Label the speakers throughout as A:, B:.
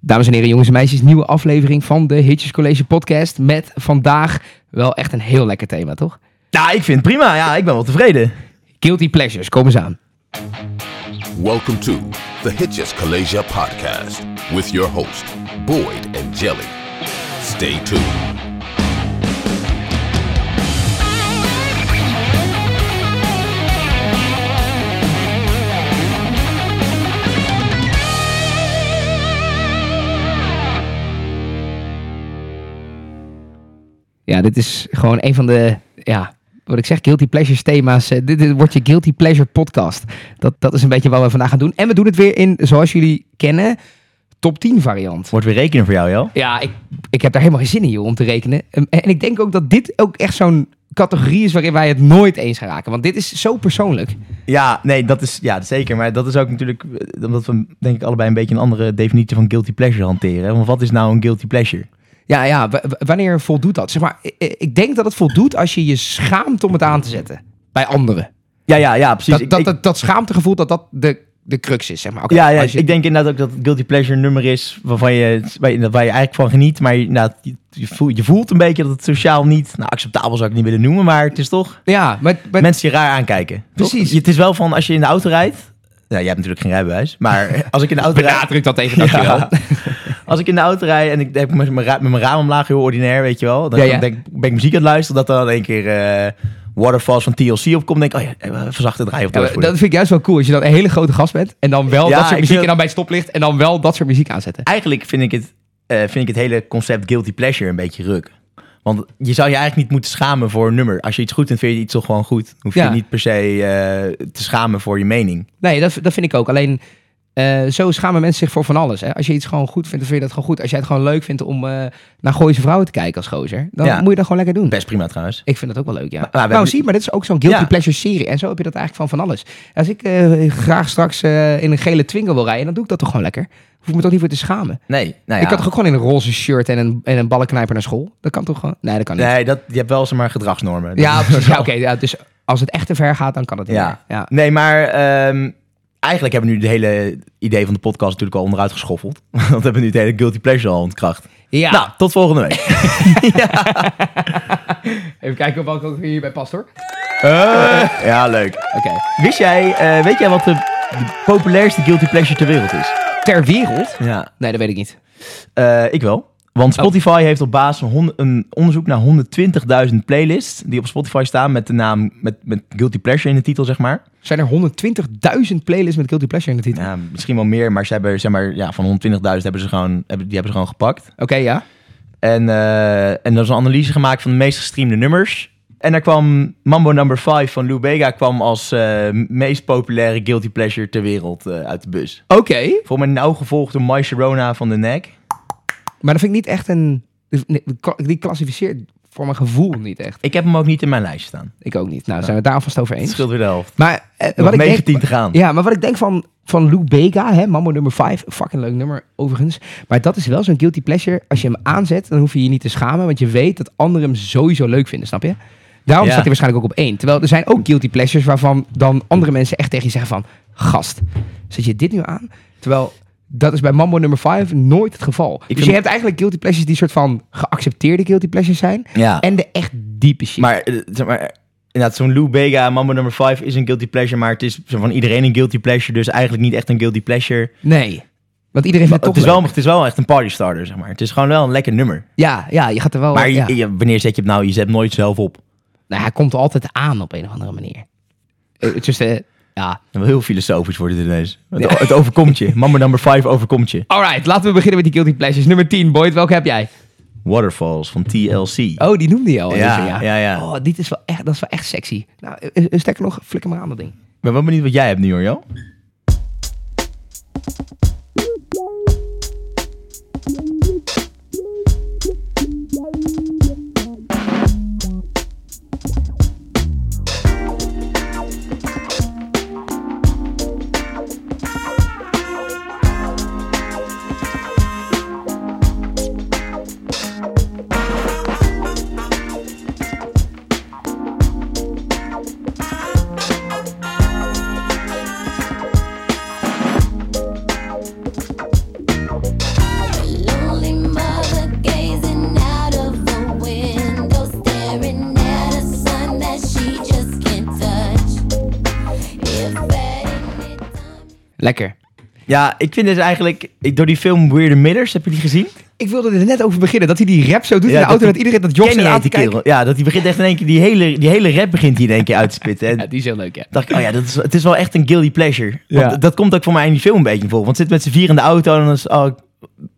A: Dames en heren, jongens en meisjes, nieuwe aflevering van de Hitjes College podcast met vandaag wel echt een heel lekker thema, toch?
B: Nou, ik vind het prima. Ja, ik ben wel tevreden.
A: Guilty Pleasures, kom eens aan.
C: Welcome to the Hitches Kalasia podcast with your host, Boyd and Jelly. Stay tuned.
A: Ja, dit is gewoon een van de, ja, wat ik zeg, Guilty Pleasures thema's. Eh, Dit, dit wordt je Guilty Pleasure podcast. Dat, dat is een beetje wat we vandaag gaan doen. En we doen het weer in, zoals jullie kennen, top 10 variant.
B: Wordt weer rekenen voor jou, joh.
A: Ja, ik, ik heb daar helemaal geen zin in, joh, om te rekenen. En, en ik denk ook dat dit ook echt zo'n categorie is waarin wij het nooit eens gaan raken. Want dit is zo persoonlijk.
B: Ja, nee, dat is ja, zeker. Maar dat is ook natuurlijk eh, omdat we, denk ik, allebei een beetje een andere definitie van guilty pleasure hanteren. hè. Want wat is nou een guilty pleasure?
A: Ja, ja, w- w- wanneer voldoet dat? Zeg maar, i- i- ik denk dat het voldoet als je je schaamt om het aan te zetten. Bij anderen.
B: Ja, ja, ja, precies.
A: Dat,
B: Ik-
A: dat,
B: ik-
A: dat, dat schaamtegevoel, dat dat de, de crux is, zeg maar. Oké,
B: ja, ja
A: als je-
B: ik denk inderdaad ook dat het guilty pleasure een nummer is waarvan je, waar je, waar je eigenlijk van geniet. Maar je, inderdaad, je, je voelt, je voelt een beetje dat het sociaal niet, nou, acceptabel zou ik niet willen noemen, maar het is toch
A: ja, maar, maar
B: mensen je raar aankijken. toch?
A: Precies.
B: Het is wel van als je in de auto rijdt. Nou, jij hebt natuurlijk geen rijbewijs, maar als ik in de auto rijd...
A: benadruk dat even, dankjewel.
B: Ja. Als ik in de auto rijd en ik heb ik met mijn ra- met mijn raam omlaag, heel ordinair, weet je wel. Dan
A: Ja, ja.
B: Denk, ben ik muziek aan het luisteren, dat dan in één keer eh, Waterfalls van TLC opkomt. denk ik, oh ja, even zacht het draaien op
A: Ja,
B: de
A: maar
B: dashboard.
A: dat vind ik juist wel cool, als je dan een hele grote gast bent en dan wel
B: Ja,
A: dat soort
B: ik
A: muziek
B: vind-
A: en dan bij het stoplicht en dan wel dat soort muziek aanzetten.
B: Eigenlijk vind ik, het, eh, vind ik het hele concept guilty pleasure een beetje ruk. Want je zou je eigenlijk niet moeten schamen voor een nummer. Als je iets goed vindt, vind je iets toch gewoon goed. Hoef je
A: Ja.
B: niet per se eh, te schamen voor je mening.
A: Nee, dat, dat vind ik ook. Alleen, eh, zo schamen mensen zich voor van alles. Hè? Als je iets gewoon goed vindt, dan vind je dat gewoon goed. Als jij het gewoon leuk vindt om eh, naar Gooise vrouwen te kijken als gozer, dan
B: Ja.
A: moet je dat gewoon lekker doen.
B: Best prima trouwens.
A: Ik vind dat ook wel leuk, ja.
B: we hebben
A: nou,
B: nu-
A: zie, maar dit is ook zo'n guilty
B: Ja.
A: pleasure serie. En zo heb je dat eigenlijk van van alles. Als ik eh, graag straks eh, in een gele Twingo wil rijden, dan doe ik dat toch gewoon lekker. Hoef ik me toch niet voor te schamen.
B: Nee, nou ja.
A: Ik kan toch ook gewoon in een roze shirt en een, en een ballenknijper naar school? Dat kan toch gewoon? Nee, dat kan niet.
B: Nee, dat, je hebt wel zomaar gedragsnormen.
A: Ja, precies. Ja, oké. ja, dus als het echt te ver gaat, dan kan het niet
B: Ja.
A: meer. Ja.
B: Nee, maar ehm, eigenlijk hebben we nu het hele idee van de podcast natuurlijk al onderuit geschoffeld. Want we hebben nu het hele guilty pleasure al ontkracht.
A: ja.
B: Nou, tot volgende week.
A: Even kijken op welke ook hierbij past, hoor. Oké.
B: ja, leuk. Wist jij, eh, weet jij wat de, de populairste guilty pleasure ter wereld is?
A: Ter wereld?
B: Ja.
A: Nee, dat weet ik niet.
B: Eh, ik wel. Want Spotify heeft op basis van hon- een onderzoek naar 120.000 playlists die op Spotify staan met de naam, met, met guilty pleasure in de titel, zeg maar.
A: Zijn er 120.000 playlists met Guilty Pleasure in de titel?
B: Ja, misschien wel meer, maar ze hebben, zeg maar, ja, van 120.000 hebben ze gewoon, hebben, die hebben ze gewoon gepakt.
A: Oké, ja.
B: En, eh, en er is een analyse gemaakt van de meest gestreamde nummers. En daar kwam Mambo Number 5 van Lou Bega kwam als eh, meest populaire guilty pleasure ter wereld eh, uit de bus.
A: Oké.
B: Voor mij nauw gevolgd door My Sharona van de Neck.
A: Maar dat vind ik niet echt een... nee, Die klassificeert voor mijn gevoel niet echt.
B: Ik heb hem ook niet in mijn lijst staan.
A: Ik ook niet. Nou, zijn we het daar alvast over
B: Het
A: eens.
B: scheelt weer de helft.
A: Maar eh,
B: Nog
A: wat ik
B: 19
A: denk,
B: te gaan.
A: ja, maar wat ik denk van, van Lou Bega, hè, Mambo nummer 5, fucking leuk nummer overigens. Maar dat is wel zo'n guilty pleasure. Als je hem aanzet, dan hoef je je niet te schamen, want je weet dat anderen hem sowieso leuk vinden, snap je? Daarom
B: Ja.
A: staat hij waarschijnlijk ook op één. Terwijl er zijn ook guilty pleasures waarvan dan andere mensen echt tegen je zeggen van, gast, zet je dit nu aan? Terwijl dat is bij Mambo nummer 5 nooit het geval. dus
B: vind-
A: je hebt eigenlijk guilty pleasures die soort van geaccepteerde guilty pleasures zijn
B: Ja.
A: en de echt diepe shit.
B: Maar, eh, zeg maar inderdaad, zo'n Lou Bega, Mambo Number 5 is een guilty pleasure. Maar het is zo van iedereen een guilty pleasure. Dus eigenlijk niet echt een guilty pleasure.
A: nee. Want iedereen vindt
B: Het
A: het
B: is,
A: toch leuk.
B: wel, het is wel echt een party starter, zeg maar. Het is gewoon wel een lekker nummer.
A: Ja, ja, je gaat er wel...
B: Maar je-
A: ja.
B: je- wanneer zet je het nou? Je zet hem nooit zelf op.
A: Nou, hij komt er altijd aan op een of andere manier. Eh, Het is eh, ja.
B: Wel heel filosofisch wordt het ineens. Het, het overkomt je. Mama number 5 overkomt je.
A: Alright, laten we beginnen met die guilty pleasures. Nummer 10, Boyd, welke heb jij?
B: Waterfalls van TLC.
A: Oh, die noemde je al.
B: Ja,
A: even,
B: ja, ja.
A: Oh, dit is wel echt, dat is wel echt sexy. Nou, eh, eh, sterker nog, flikker maar aan dat ding.
B: Ik ben wel benieuwd wat jij hebt nu hoor, Jo.
A: Lekker.
B: Ja, ik vind dus eigenlijk, ik- door die film Weirder Millers, heb je die gezien?
A: Ik wilde er net over beginnen. Dat hij die rap zo doet
B: Ja,
A: in de
B: dat
A: auto.
B: die-
A: Dat iedereen dat Job
B: Ken
A: zit
B: je
A: aan
B: heet
A: te
B: die
A: kijken.
B: kerel? Ja, dat die begint echt in één keer, die hele, die hele rap begint hij in één keer uit te spitten. En
A: Ja, die is heel leuk, ja.
B: dacht ik, oh ja, dat is, het is wel echt een guilty pleasure. Want
A: Ja.
B: dat komt ook voor mij in die film een beetje voor. Want zit met z'n vier in de auto en dan is oh,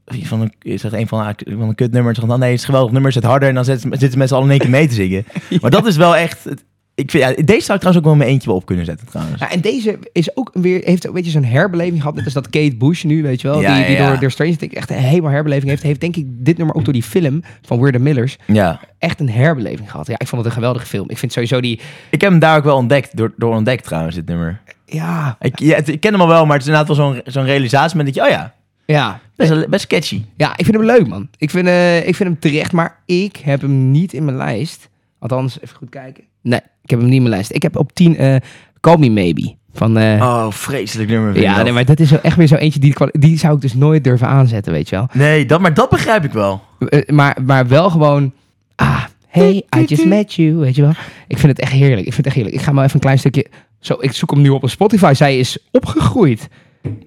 B: ik- van een, is dat een van, ah, ik- van een kutnummer? En dan nee, het is een geweldig nummer, zet harder. En dan zitten ze- zitten mensen al in één keer mee te zingen. Maar dat is wel echt... het- Ik vind, ja, deze zou ik trouwens ook wel in mijn eentje wel op kunnen zetten trouwens.
A: Ja, Nou, en deze is ook weer, heeft een beetje zo'n herbeleving gehad. Net als dat Kate Bush nu, weet je wel.
B: Ja,
A: die die
B: ja, ja.
A: Door, door Stranger Things echt een helemaal herbeleving heeft. Heeft denk ik dit nummer ook door die film van Weird Al Millers
B: Ja.
A: echt een herbeleving gehad. Ja, ik vond het een geweldige film. Ik vind sowieso die,
B: Ik heb hem daar ook wel ontdekt, door, door ontdekt trouwens, dit nummer.
A: ja,
B: Ik, ja, het- ik ken hem al wel, maar het is inderdaad wel zo'n zo'n realisatie met dat je, oh ja,
A: ja.
B: best, wel- best catchy.
A: Ja, ik vind hem leuk, man. Ik vind, eh, ik vind hem terecht, maar ik heb hem niet in mijn lijst. Althans, even goed kijken. Nee, ik heb hem niet in mijn lijst. Ik heb op 10 eh Call Me Maybe van... eh,
B: Oh, vreselijk nummer vind ik
A: ja,
B: dat.
A: nee, maar dat is wel echt weer zo eentje die, ik kwa- die zou ik dus nooit durven aanzetten, weet je wel.
B: Nee, dat, maar dat begrijp ik wel.
A: Eh, maar, maar wel gewoon. Ah, hey, I just met you. Weet je wel? Ik vind het echt heerlijk. Ik vind het echt heerlijk. Ik ga maar even een klein stukje. Zo, ik zoek hem nu op op Spotify. Zij is opgegroeid.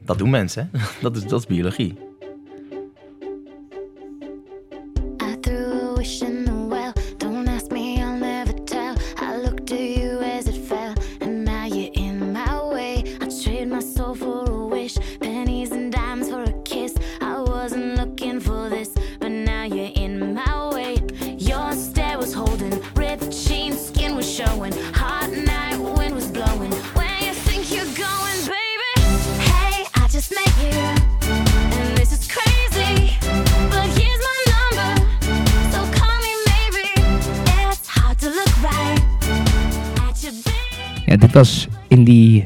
B: Dat doen mensen, hè? Dat is, dat is biologie.
D: I threw a wish in the well. Don't ask me, I'll never tell. I looked to you as it fell, and now you're in my way. I trade my soul for a wish, pennies and dimes for a kiss. I wasn't looking for this, but now you're in my way. Your stare was holding, ripped jeans, skin was showing. Hot night, wind was blowing. Where you think you're going, baby? Hey, I just met you. And this is crazy, but here's my number. So call me maybe. It's hard to look right at your baby.
A: Ja, dit was in die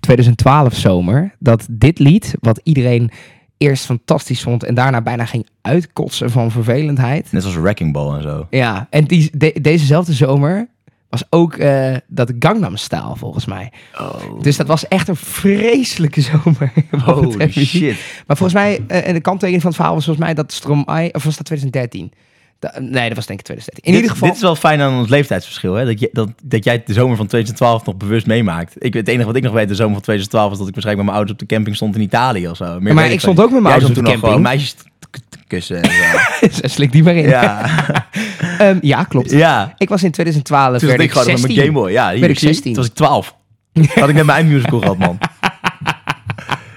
A: 2012 zomer. Dat dit lied, wat iedereen eerst fantastisch vond. en daarna bijna ging uitkotsen van vervelendheid.
B: Net als Wrecking Ball en zo.
A: Ja, en die, de- dezezelfde zomer was ook eh, dat Gangnam Style volgens mij. Dus dat was echt een vreselijke zomer. wat
B: Oh. Holy
A: betreft muziek.
B: shit.
A: Maar volgens mij, eh, en de kanttekening van het verhaal was volgens mij dat Stromae, of was dat 2013? Da- nee, dat was denk ik 2013. In
B: dit,
A: ieder geval,
B: dit is wel fijn aan ons leeftijdsverschil, hè? Dat, je, dat, dat jij de zomer van 2012 nog bewust meemaakt. Ik, het enige wat ik nog weet de zomer van 2012 was dat ik waarschijnlijk met mijn ouders op de camping stond in Italië of zo. Meer
A: maar
B: weet
A: ik
B: van
A: stond ook met mijn
B: niet.
A: ouders op de
B: Jij stond toen nog
A: camping.
B: gewoon meisjes te- te kussen en zo.
A: slik die maar in. Ja,
B: ja.
A: ja klopt.
B: ja.
A: Ik was in 2012,
B: Toen
A: werd ik
B: zat ik gewoon met
A: 16.
B: mijn Game Boy. Ja, hier,
A: Werd ik
B: zie je?
A: 16.
B: Toen was ik 12. Had ik net mijn eindmusical gehad, man.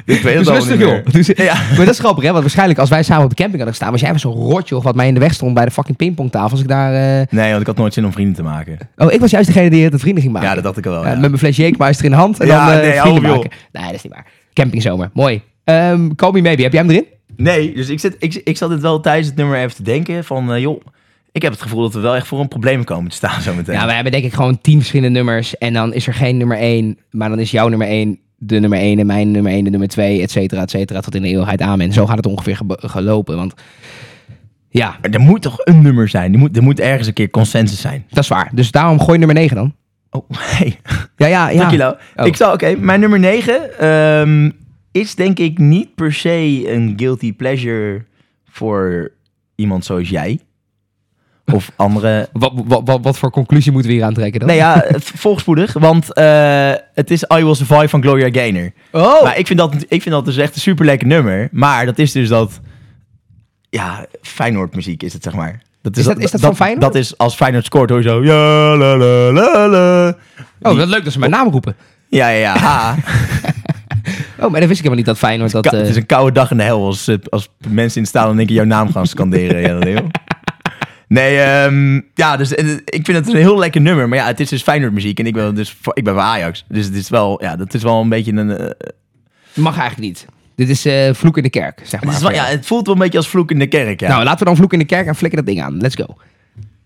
B: ik weet het
A: Dus
B: al
A: rustig
B: niet meer.
A: joh. Dus-
B: Ja.
A: Maar dat is grappig hè, want waarschijnlijk als wij samen op de camping hadden gestaan, was jij even zo'n rotje of wat mij in de weg stond bij de fucking pingpongtafel. Als ik daar... eh,
B: Nee, want ik had nooit zin om vrienden te maken.
A: Oh, ik was juist degene die het aan vrienden ging maken.
B: Ja, dat dacht ik wel.
A: Eh,
B: ja.
A: Met mijn flesje Jeekmuister in de hand en
B: Ja,
A: dan eh,
B: nee,
A: vrienden
B: hou op,
A: maken. Nee, dat is niet waar. Campingzomer, mooi. Ehm call me maybe, heb jij hem erin?
B: Nee, dus ik, zit, ik, ik zat dit wel tijdens het nummer even te denken van, eh, joh, ik heb het gevoel dat we wel echt voor een probleem komen te staan zo meteen.
A: Ja, wij Nou, hebben denk ik gewoon tien verschillende nummers. En dan is er geen nummer één, maar dan is jouw nummer één de nummer één en mijn nummer één de nummer twee, et cetera, et cetera. Tot in de eeuwigheid amen. Zo gaat het ongeveer gebe- gelopen, want ja,
B: Maar er moet toch een nummer zijn? Er moet, er moet ergens een keer consensus zijn.
A: dat is waar. Dus daarom gooi nummer negen dan.
B: Oh, hey.
A: Ja, ja, ja.
B: Dankjewel.
A: Oh.
B: Ik zal, oké, mijn nummer 9 is denk ik niet per se een guilty pleasure voor iemand zoals jij. Of andere...
A: Wat, wat, wat, wat voor conclusie moeten we hier aantrekken dan?
B: Nee ja, het- volgspoedig, want eh, het is I Will Survive van Gloria Gaynor.
A: Oh!
B: Maar ik vind, dat, ik vind dat dus echt een super lekker nummer. Maar dat is dus dat... Ja, Feyenoord muziek is het, zeg maar.
A: Is dat- is dat van Feyenoord?
B: Dat is als Feyenoord scoort, hoor je zo... Ja, la, la, la, la.
A: oh, wat leuk dat ze mijn naam roepen.
B: Ja, ja, ja. ha.
A: Oh, maar dan wist ik helemaal niet dat Feyenoord dat...
B: Ka-
A: eh,
B: het is een koude dag in de hel als, eh, als mensen in het stadion in één keer jouw naam gaan scanderen. ja, dat heel. Nee, ehm, ja, dus eh, ik vind het een heel lekker nummer. Maar ja, het is dus Feyenoord muziek en ik ben, dus, voor- ik ben bij Ajax. Dus het is wel, ja, dat is wel een beetje een... eh,
A: Mag eigenlijk niet. Dit is eh, vloek in de kerk, zeg maar.
B: het, is wel, ja, het voelt wel een beetje als vloek in de kerk, ja.
A: Nou, laten we dan vloek in de kerk en flikker dat ding aan. Let's go.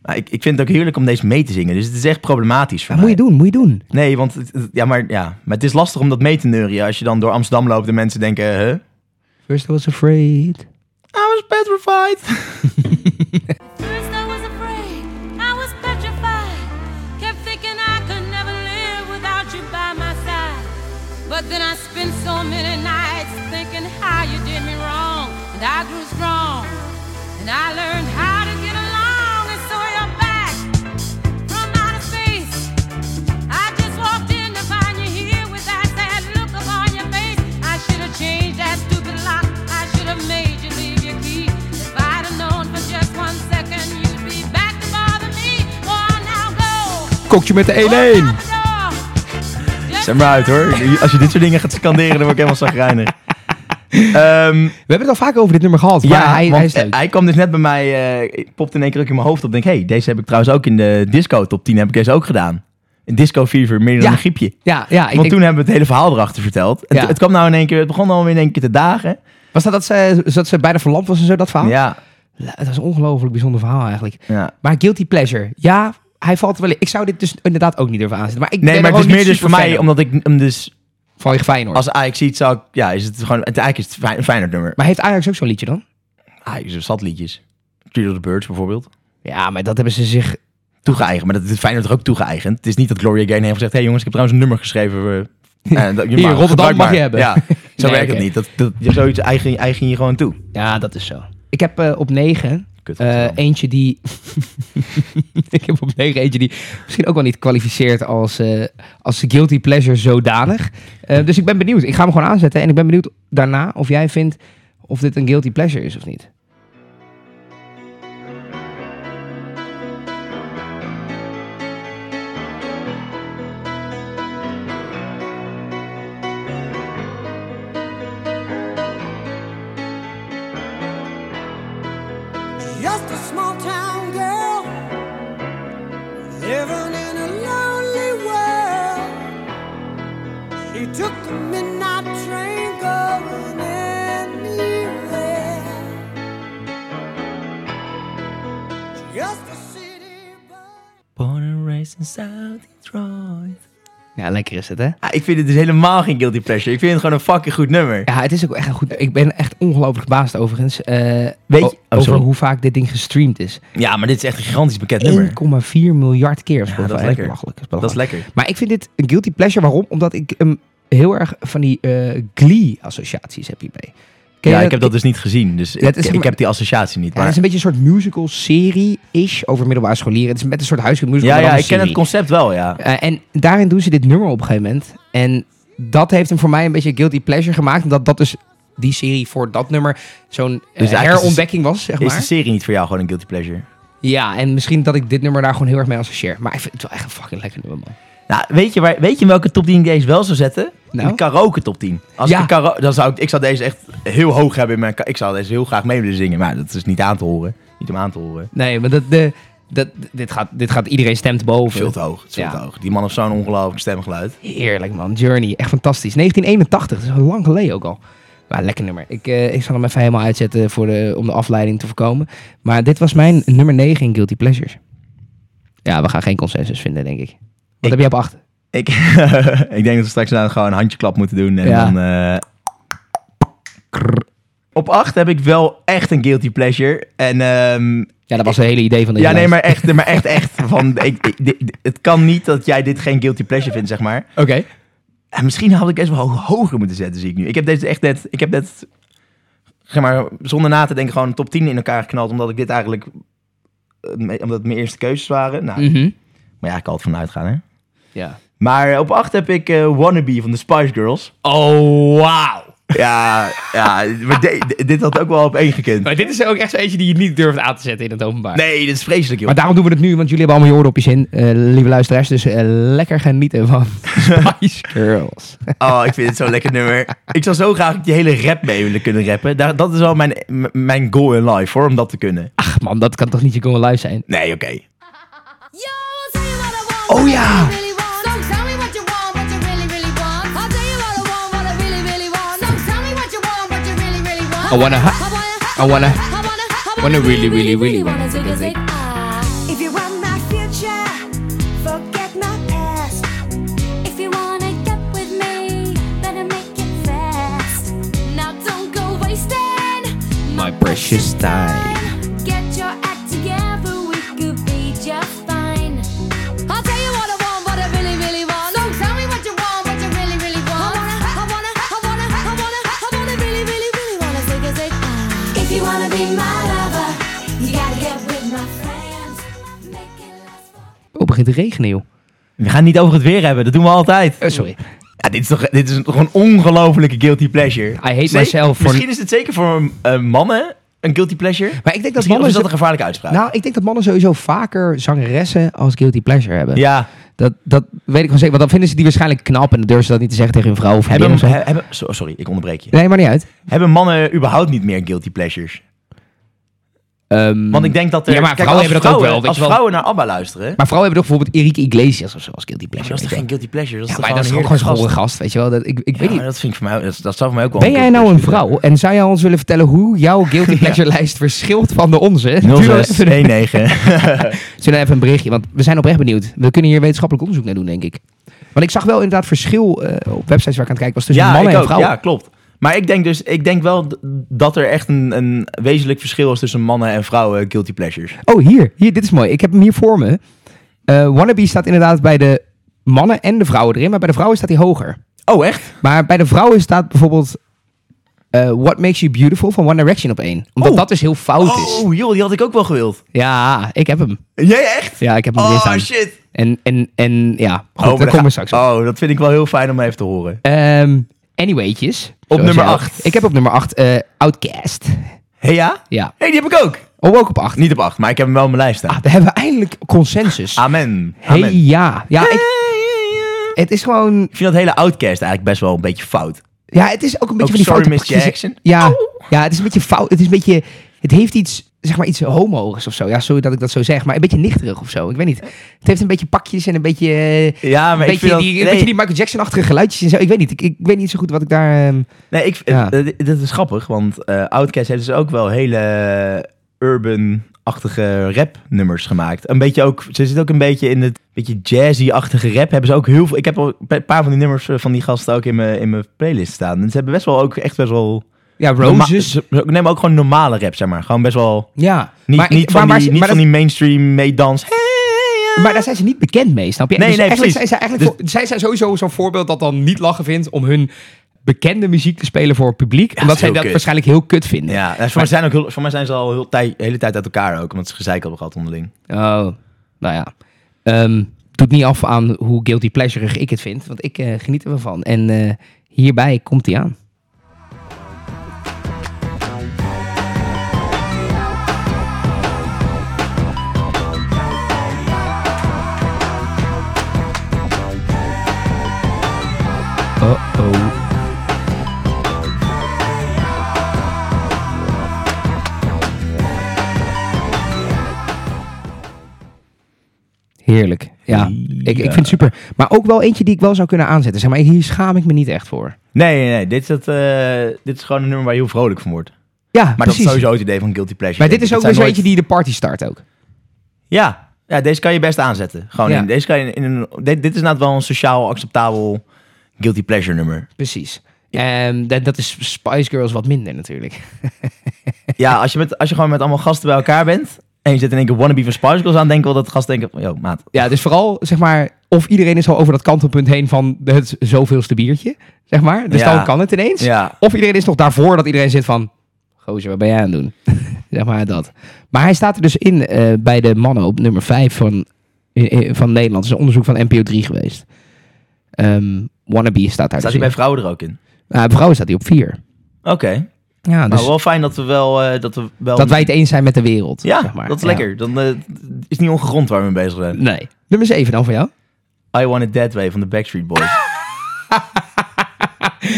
B: Maar ik, ik vind het ook heerlijk om deze mee te zingen. Dus het is echt problematisch voor
A: Moet
B: mij.
A: je doen, moet je doen.
B: Nee, want het- het- ja, maar, ja, maar het is lastig om dat mee te neurien. Als je dan door Amsterdam loopt en mensen denken... Huh? I
A: First I was afraid.
B: was petrified.
D: First I was afraid, I was petrified. Kept thinking I could never live without you by my side. But then I spent so many nights thinking how you did me wrong. And I grew strong. And I learned how to get along. And so you're back from outer space. I just walked in to find you here with that sad look upon your face. I
A: Kokje met de 1-1.
B: Zet maar uit hoor. Als je dit soort dingen gaat scanderen, dan word ik helemaal zagrijnig. Ehm
A: We hebben het al vaak over dit nummer gehad, maar
B: ja,
A: hij,
B: want
A: hij is leuk.
B: hij kwam dus net bij mij, eh, ik popte in één keer ook in mijn hoofd op. Denk, hey, deze heb ik trouwens ook in de disco top 10 heb ik deze ook gedaan. In disco fever, meer dan
A: Ja.
B: een griepje.
A: ja, ja, ik,
B: Want
A: ik-
B: toen hebben we het hele verhaal erachter verteld. En
A: Ja.
B: t- Het kwam nou in één keer, het begon allemaal in één keer te dagen.
A: was dat dat ze, dat ze bijna verlamd was en zo, dat verhaal?
B: Ja,
A: Dat is een ongelooflijk bijzonder verhaal eigenlijk.
B: ja.
A: Maar Guilty Pleasure, ja, hij valt er wel in. Ik zou dit dus inderdaad ook niet durven aanzetten. Maar ik
B: Nee,
A: ben
B: maar
A: er
B: het is
A: gewoon
B: meer
A: niet
B: dus voor
A: super
B: mij,
A: fan
B: omdat ik hem dus
A: op. Van je Feyenoord.
B: als Ajax ziet, zou ik, ja, is het gewoon, het- eigenlijk is het fijn- een fijner nummer.
A: Maar heeft Ajax ook zo'n liedje dan?
B: Ajax heeft zat liedjes. Tree of the Birds bijvoorbeeld.
A: Ja, maar dat hebben ze zich...
B: Toegeëigend, maar dat is Feyenoord toch ook toegeëigend. Het is niet dat Gloria Gaynor heeft gezegd, hey jongens, ik heb trouwens een nummer geschreven. eh, eh, dat- je
A: Hier,
B: mag-
A: Rotterdam
B: gebruik
A: mag
B: maar."
A: je hebben.
B: Ja, zo
A: Nee,
B: werkt
A: oké.
B: het niet. Dat, dat, je zoiets eigen, eigen je gewoon toe.
A: Ja, dat is zo. Ik heb eh, op negen
B: Kut,
A: eh,
B: Rotterdam.
A: eentje die... ik heb op negen eentje die misschien ook wel niet kwalificeert als, eh, als Guilty Pleasure zodanig. Eh, dus ik ben benieuwd. Ik ga hem gewoon aanzetten. En ik ben benieuwd daarna of jij vindt of dit een Guilty Pleasure is of niet.
E: Just a small town girl living in a lonely world. She took the midnight train going anywhere. Just a city boy.
B: Born and raised in South Detroit.
A: Ja, lekker is het, hè?
B: Ah, ik vind het dus helemaal geen guilty pleasure. Ik vind het gewoon een fucking goed nummer.
A: Ja, het is ook echt een goed. Ik ben echt ongelooflijk verbaasd overigens. eh,
B: je-
A: o-
B: oh,
A: over
B: sorry.
A: hoe vaak dit ding gestreamd is. 1,4
B: Ja, maar dit is echt een gigantisch bekend nummer.
A: miljard keer. op Spotify.
B: dat is
A: Echt
B: lekker.
A: belachelijk, echt
B: Dat is
A: belachelijk.
B: lekker.
A: Maar ik vind dit een guilty pleasure. Waarom? Omdat ik hem heel erg van die eh, Glee-associaties heb hierbij. Ken je
B: Ja, ik heb dat dus niet gezien. Dus
A: het
B: ik,
A: is-
B: ik heb die associatie niet.
A: Ja, het
B: Maar...
A: is een beetje een soort musical-serie-ish over middelbare scholieren. Het is met een soort huiselijk musical.
B: Ja,
A: maar
B: ja,
A: dan
B: ik
A: een
B: ken het
A: serie.
B: concept wel, ja.
A: Eh, en daarin doen ze dit nummer op een gegeven moment. En dat heeft hem voor mij een beetje guilty pleasure gemaakt. Omdat dat dus die serie voor dat nummer zo'n eh,
B: Dus eigenlijk is het-
A: herontdekking was, zeg
B: Is de
A: maar.
B: serie niet voor jou gewoon een guilty pleasure?
A: Ja, en misschien dat ik dit nummer daar gewoon heel erg mee associeer. Maar ik vind het wel echt een fucking lekker nummer, man.
B: Nou, weet je, waar, weet je in welke top 10 ik deze wel zou zetten?
A: Nou?
B: Een karaoke top 10. Als
A: Ja.
B: ik, een kara- dan zou ik, ik zou deze echt heel hoog hebben in mijn... ka- Ik zou deze heel graag mee willen zingen, maar dat is niet aan te horen. Niet om aan te horen.
A: Nee, maar dat, de, dat, dit, gaat, dit gaat iedereen stemt boven.
B: Veel te hoog, het is veel
A: Ja.
B: te hoog. Die man heeft zo'n ongelooflijk stemgeluid.
A: Heerlijk, man. Journey, echt fantastisch. 1981, dat is al lang geleden ook al. Maar lekker nummer. Ik, eh, ik zal hem even helemaal uitzetten voor de, om de afleiding te voorkomen. Maar dit was mijn nummer 9 in Guilty Pleasures. Ja, we gaan geen consensus vinden, denk ik. Wat heb
B: Ik-
A: je op 8?
B: Ik, ik denk dat we straks nou gewoon een handjeklap moeten doen. En
A: Ja.
B: dan, eh, krrr. op 8 heb ik wel echt een guilty pleasure. En ehm,
A: Ja, dat was het hele idee van deze
B: ja, nee,
A: lijst.
B: maar echt, nee, maar echt, echt. Van, ik, ik- dit- dit- het kan niet dat jij dit geen guilty pleasure vindt, zeg maar.
A: Oké.
B: En misschien had ik deze wel ho- hoger moeten zetten, zie ik nu. Ik heb deze echt net, ik heb net, zeg maar, zonder na te denken gewoon een top 10 in elkaar geknald. Omdat ik dit eigenlijk, eh, me- omdat het mijn eerste keuzes waren. Nou,
A: Mhm.
B: maar ja, ik kan altijd vanuit gaan, hè.
A: Ja.
B: Maar op 8 heb ik eh, Wannabe van de Spice Girls.
A: Oh, wauw.
B: Ja, ja maar de- de- dit had ook wel op één gekund.
A: Maar dit is ook echt zo eentje die je niet durft aan te zetten in het openbaar.
B: Nee, dit is vreselijk, joh.
A: Maar daarom doen we het nu, want jullie hebben allemaal je oordopjes in, eh, lieve luisteraars. Dus eh, lekker genieten van Spice Girls.
B: Oh, ik vind het zo'n lekker nummer. Ik zou zo graag die hele rap mee willen kunnen rappen. Daar, dat is wel mijn, m- mijn goal in life, hoor, om dat te kunnen.
A: Ach man, dat kan toch niet je live zijn?
B: Nee, oké.
F: Yo, I'll tell you what I want.
B: Oh,
F: what
B: yeah.
F: I really, really want. So tell me what you want, what you really, really want. I'll tell you what I want, what I really, really want. So tell me what you want, what you really, really want.
A: I wanna ha- I wanna-
F: I wanna, I
A: wanna really, really, really
F: wanna
A: wanna
F: zig a zig ah.
E: If you want my future, forget my past.
F: If you wanna get with me, better make it fast. Now don't go wasting my precious time. Get your act together, we could be just fine. I'll tell you what I want, what I really, really want. So tell me what you want, what you really, really want. I wanna, I wanna, I wanna, I wanna, I wanna really, really, really wanna zig a zig ah. If you wanna be my lover, you gotta get with my friends. Make it last
A: Oh,
F: forever.
A: het begint te regenen, joh.
B: We gaan het niet over het weer hebben, dat doen we altijd.
A: Eh, sorry.
B: Ja, dit is toch dit is toch een ongelofelijke guilty pleasure. I
A: hate myself voor-
B: Misschien is het zeker voor eh, mannen een guilty pleasure.
A: Maar ik denk dat
B: Misschien of
A: mannen...
B: is dat een gevaarlijke uitspraak.
A: Nou, ik denk dat mannen sowieso vaker zangeressen als guilty pleasure hebben.
B: ja,
A: Dat, dat weet ik gewoon zeker. Want dan vinden ze die waarschijnlijk knap en dan durven ze dat niet te zeggen tegen hun vrouw of vriendin
B: Hebben,
A: of zo.
B: he- hebben, so- sorry, ik onderbreek je.
A: Nee, maar niet uit.
B: Hebben mannen überhaupt niet meer guilty pleasures?
A: Ehm,
B: Want ik denk dat er...
A: Ja, maar
B: kijk,
A: vrouwen
B: als
A: hebben dat ook wel, weet
B: Als
A: je wel.
B: vrouwen naar ABBA luisteren...
A: Maar vrouwen hebben toch bijvoorbeeld Eric Iglesias of zo als guilty
B: maar
A: pleasure.
B: dat
A: weet
B: is toch
A: je
B: geen guilty pleasure? Dat
A: wel.
B: is
A: Ja, maar
B: toch
A: dat is
B: gewoon
A: gewoon
B: een
A: zo'n gore
B: heerlijke
A: gast, weet je wel. Dat, ik, ik weet
B: gast? Ja,
A: niet.
B: maar dat vind ik voor mij... Dat, dat zou voor mij ook wel...
A: Ben jij nou een
B: guilty pleasure
A: vrouw en zou jij ons willen vertellen hoe jouw guilty pleasure lijst verschilt van de onze? Stuur
B: zijn.
A: dan even een-
B: 0619.
A: Zullen we even een berichtje? Want we zijn oprecht benieuwd. We kunnen hier wetenschappelijk onderzoek naar doen, denk ik. Want ik zag wel inderdaad verschil eh, op websites waar ik aan het kijken was tussen
B: ja,
A: mannen
B: ik
A: en
B: ook.
A: vrouwen.
B: Ja, klopt. Maar ik denk dus, ik denk wel d- dat er echt een, een wezenlijk verschil is tussen mannen en vrouwen guilty pleasures.
A: Oh, hier, hier. Dit is mooi. Ik heb hem hier voor me. Eh, Wannabe staat inderdaad bij de mannen en de vrouwen erin. Maar bij de vrouwen staat hij hoger.
B: Oh, echt?
A: Maar bij de vrouwen staat bijvoorbeeld... eh, What Makes You Beautiful van One Direction op één. Omdat
B: Oh.
A: dat dus heel fout is.
B: Oh, joh, die had ik ook wel gewild.
A: Ja, ik heb hem.
B: Jij echt?
A: Ja, ik heb hem weer
B: Oh,
A: staan.
B: shit.
A: En, en, en ja, goed,
B: Oh, maar
A: daar
B: dan
A: komen
B: ga-
A: we straks op.
B: Oh, dat vind ik wel heel fijn om even te horen.
A: Ehm, anyway'tjes. Zoals
B: nummer
A: jij-
B: acht.
A: Ik heb op nummer 8 Outcast.
B: Hé, ja?
A: Ja.
B: Hé, die heb ik ook.
A: Oh, ook op 8.
B: Niet op acht, maar ik heb hem wel op mijn lijst staan.
A: Ah, we hebben eindelijk consensus.
B: Amen. Ah, Amen.
A: Ah, hey, ja. Ja,
B: Hey,
A: ik,
B: yeah.
A: het is gewoon...
B: Ik vind dat hele outcast eigenlijk best wel een beetje fout.
A: Ja, het is ook een beetje
B: Ook
A: van die
B: Sorry
A: foute
B: Miss
A: precies-
B: Jackson.
A: Ja, ja, het is een beetje fout. Het is een beetje... Het heeft iets, zeg maar, iets homo's of zo. Ja, sorry dat ik dat zo zeg, maar een beetje nichterig of zo. Ik weet niet. Het heeft een beetje pakjes en een beetje... eh,
B: Ja, maar
A: een
B: ik
A: beetje,
B: vind dat-
A: die, een
B: nee.
A: beetje die Michael Jackson-achtige geluidjes en zo. Ik weet niet. Ik, ik weet niet zo goed wat ik daar... ehm,
B: Nee, ik,
A: Ja.
B: eh, dit- dit is grappig, want eh Outcast heeft dus ook wel hele eh, urban-achtige rap-nummers gemaakt. Een beetje ook, ze zit ook een beetje in het beetje jazzy-achtige rap. Hebben ze ook heel veel. Ik heb al een paar van die nummers eh, van die gasten ook in mijn in mijn playlist staan. En ze hebben best wel ook echt best wel.
A: ja,
B: norma-
A: Roses.
B: ze- ze nemen ook gewoon normale rap, zeg maar. Gewoon best wel.
A: Ja.
B: Niet,
A: maar ik-
B: niet, van,
A: maar- maar
B: die,
A: ze-
B: niet
A: maar
B: van
A: dat-
B: die mainstream meedans. Hey, ja.
A: Maar daar zijn ze niet bekend mee, snap je? Dus
B: Nee, nee,
A: eigenlijk
B: precies. Dus
A: Zijn ze eigenlijk voor- zij zijn sowieso zo'n voorbeeld dat dan niet lachen vindt om hun bekende muziek te spelen voor het publiek.
B: dat
A: omdat
B: is
A: zij
B: heel
A: dat
B: kut.
A: waarschijnlijk heel kut vinden.
B: Ja, en voor, mij zijn ook heel, voor mij zijn ze al heel tij- hele tijd uit elkaar ook, omdat ze gezeik hebben gehad onderling.
A: Oh, nou ja. Ehm, doet niet af aan hoe guilty pleasureig ik het vind, want ik eh, geniet er wel van. En eh, hierbij komt hij aan. Uh-oh. Heerlijk. Ja, ik, ik vind het super. Maar ook wel eentje die ik wel zou kunnen aanzetten. Zeg maar, hier schaam ik me niet echt voor.
B: Nee, nee, nee. Dit is, dat, eh, dit is gewoon een nummer waar je heel vrolijk van wordt. Maar
A: Ja,
B: dat
A: precies.
B: is sowieso het idee van Guilty Pleasure.
A: maar dit
B: denk
A: is
B: ik.
A: ook
B: Het
A: weer zo'n
B: zijn
A: eentje die de party start ook.
B: nooit- Ja. ja, deze kan je best aanzetten. Gewoon
A: Ja.
B: in, deze kan je in een, dit, dit is inderdaad wel een sociaal acceptabel Guilty Pleasure nummer.
A: Precies. Ehm, dat, dat is Spice Girls wat minder natuurlijk.
B: ja, als je, met, als je gewoon met allemaal gasten bij elkaar bent... en je zet in één keer Wannabe van Spice Girls aan... denk ik wel dat gasten denken... van, Yo, maat.
A: Ja, dus vooral zeg maar, of iedereen is al over dat kantelpunt heen van het zoveelste biertje, zeg maar. Dus
B: Ja.
A: dan kan het ineens.
B: Ja.
A: Of iedereen is nog daarvoor dat iedereen zit van, gozer, wat ben jij aan het doen? zeg maar dat. Maar hij staat er dus in eh, bij de mannen op nummer 5 van, eh, eh, van Nederland. Dat is een onderzoek van NPO 3 geweest. Ehm wannabe staat daar
B: Staat
A: dus
B: hij bij
A: in.
B: vrouwen er ook in?
A: Nou, bij vrouwen staat hij op 4.
B: Oké.
A: Ja, dus
B: Nou, wel fijn dat we wel... eh, dat, we wel
A: dat wij het eens zijn met de wereld.
B: Ja,
A: zeg maar.
B: dat is
A: Ja.
B: lekker. Dan eh, is niet ongegrond waar we mee bezig zijn.
A: Nee. Nummer 7 dan voor jou.
B: I Want It That Way van de Backstreet Boys.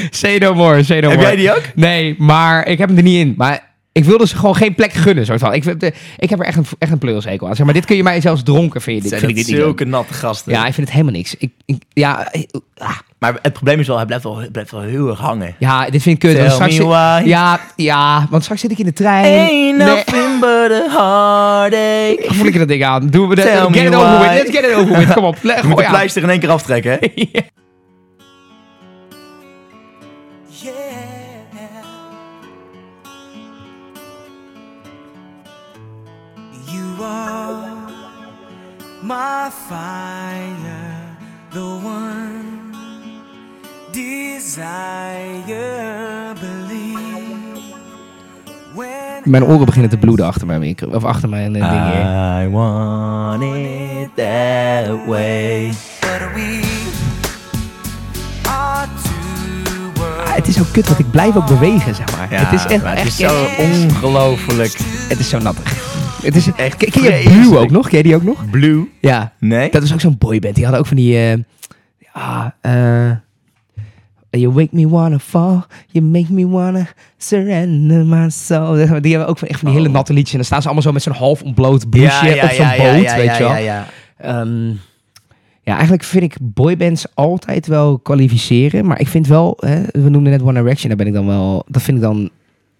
A: Say no more, say no
B: Heb
A: more.
B: jij die ook?
A: Nee, maar ik heb hem er niet in. Maar ik wilde ze gewoon geen plek gunnen, soort van. Ik, vind, eh, ik heb er echt een, echt een pleurishekel aan. Zeg maar, dit kun je mij zelfs dronken, vind je dit? Vind
B: Zijn
A: ik
B: dat
A: dit niet leuk.
B: zulke natte gasten.
A: Ja, ik vind het helemaal niks. Ik, ik- ja, eh, ah.
B: Maar het probleem is wel, hij blijft wel, hij blijft wel heel erg hangen.
A: ja, dit vind ik kut.
B: Tell
A: want straks
B: me
A: zit-
B: why.
A: ja, ja, want straks zit ik in de trein.
B: Ain't
A: Nee,
B: nothing but a heartache.
A: voel ik er dat ding aan. Doen we de,
B: Tell
A: get
B: me
A: it over
B: why.
A: with. Let's get it over with. Kom op. Le-
B: Je moet
A: gooi
B: de
A: aan.
B: pleister in één keer aftrekken, hè?
E: Yeah. You are my fire, the one desire. Believe when
A: Mijn oren beginnen te bloeden achter mijn winkel. Of achter mijn
B: Ah.
A: eh, ding hier.
B: I want it that way.
E: but we are two worlds.
A: Ah, het is ook kut, want ik blijf ook bewegen, zeg maar.
B: Ja,
A: het is echt,
B: maar
A: echt
B: het is zo ongelooflijk.
A: Het is zo nattig. Het is
B: Echt
A: Ken, ken je
B: vreselijk.
A: Blue ook nog? Ken je die ook nog?
B: Blue?
A: Ja.
B: Nee.
A: Dat is ook zo'n boyband. Die hadden ook van die... eh, ja, eh, you make me wanna fall. You make me wanna surrender my soul. Die hebben ook van, echt van die hele natte liedjes. En dan staan ze allemaal zo met zo'n half ontbloot bloesje op zo'n boot. weet je wel.
B: Oh. Ja, ja.
A: Ehm, ja, eigenlijk vind ik boybands altijd wel kwalificeren. Maar ik vind wel, hè, we noemden net One Direction, daar ben ik dan wel, dat vind ik dan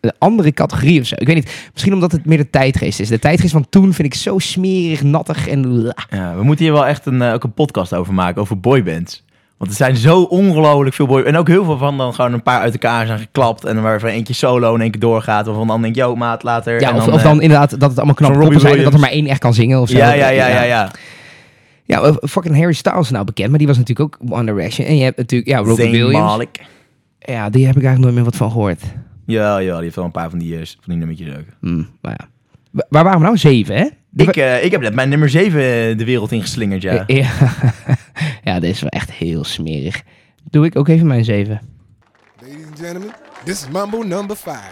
A: een andere categorie of zo. Ik weet niet, misschien omdat het meer de tijdgeest is. De tijdgeest van toen vind ik zo smerig, nattig en...
B: Ja, we moeten hier wel echt een, eh, ook een podcast over maken, over boybands. Want er zijn zo ongelooflijk veel boy En ook heel veel van dan gewoon een paar uit elkaar zijn geklapt. En waarvan eentje solo en één keer doorgaat. Waarvan dan denk je, yo maat, later.
A: Ja,
B: en
A: of, of
B: eh,
A: dan inderdaad dat het allemaal knappe
B: zo'n Robbie
A: poppen zijn en dat er maar
B: Williams.
A: één echt kan zingen of zo.
B: ja, ja, ja, ja, ja.
A: Ja, maar fucking Harry Styles is nou bekend, maar die was natuurlijk ook One Direction. En je hebt natuurlijk, ja, Robbie
B: Zayn
A: Williams.
B: Malik.
A: Ja, die heb ik eigenlijk nooit meer wat van gehoord.
B: Ja, ja, die heeft wel een paar van die, eh, van die nummertjes ook.
A: Hm, maar ja. Wa- Waar waren we nou? Zeven, hè?
B: Ik, eh, ik heb net mijn nummer 7 de wereld ingeslingerd, ja.
A: Ja. Eh, Ja. dit is wel echt heel smerig. Doe ik ook even mijn zeven.
G: Ladies and gentlemen, this is Mumble number five.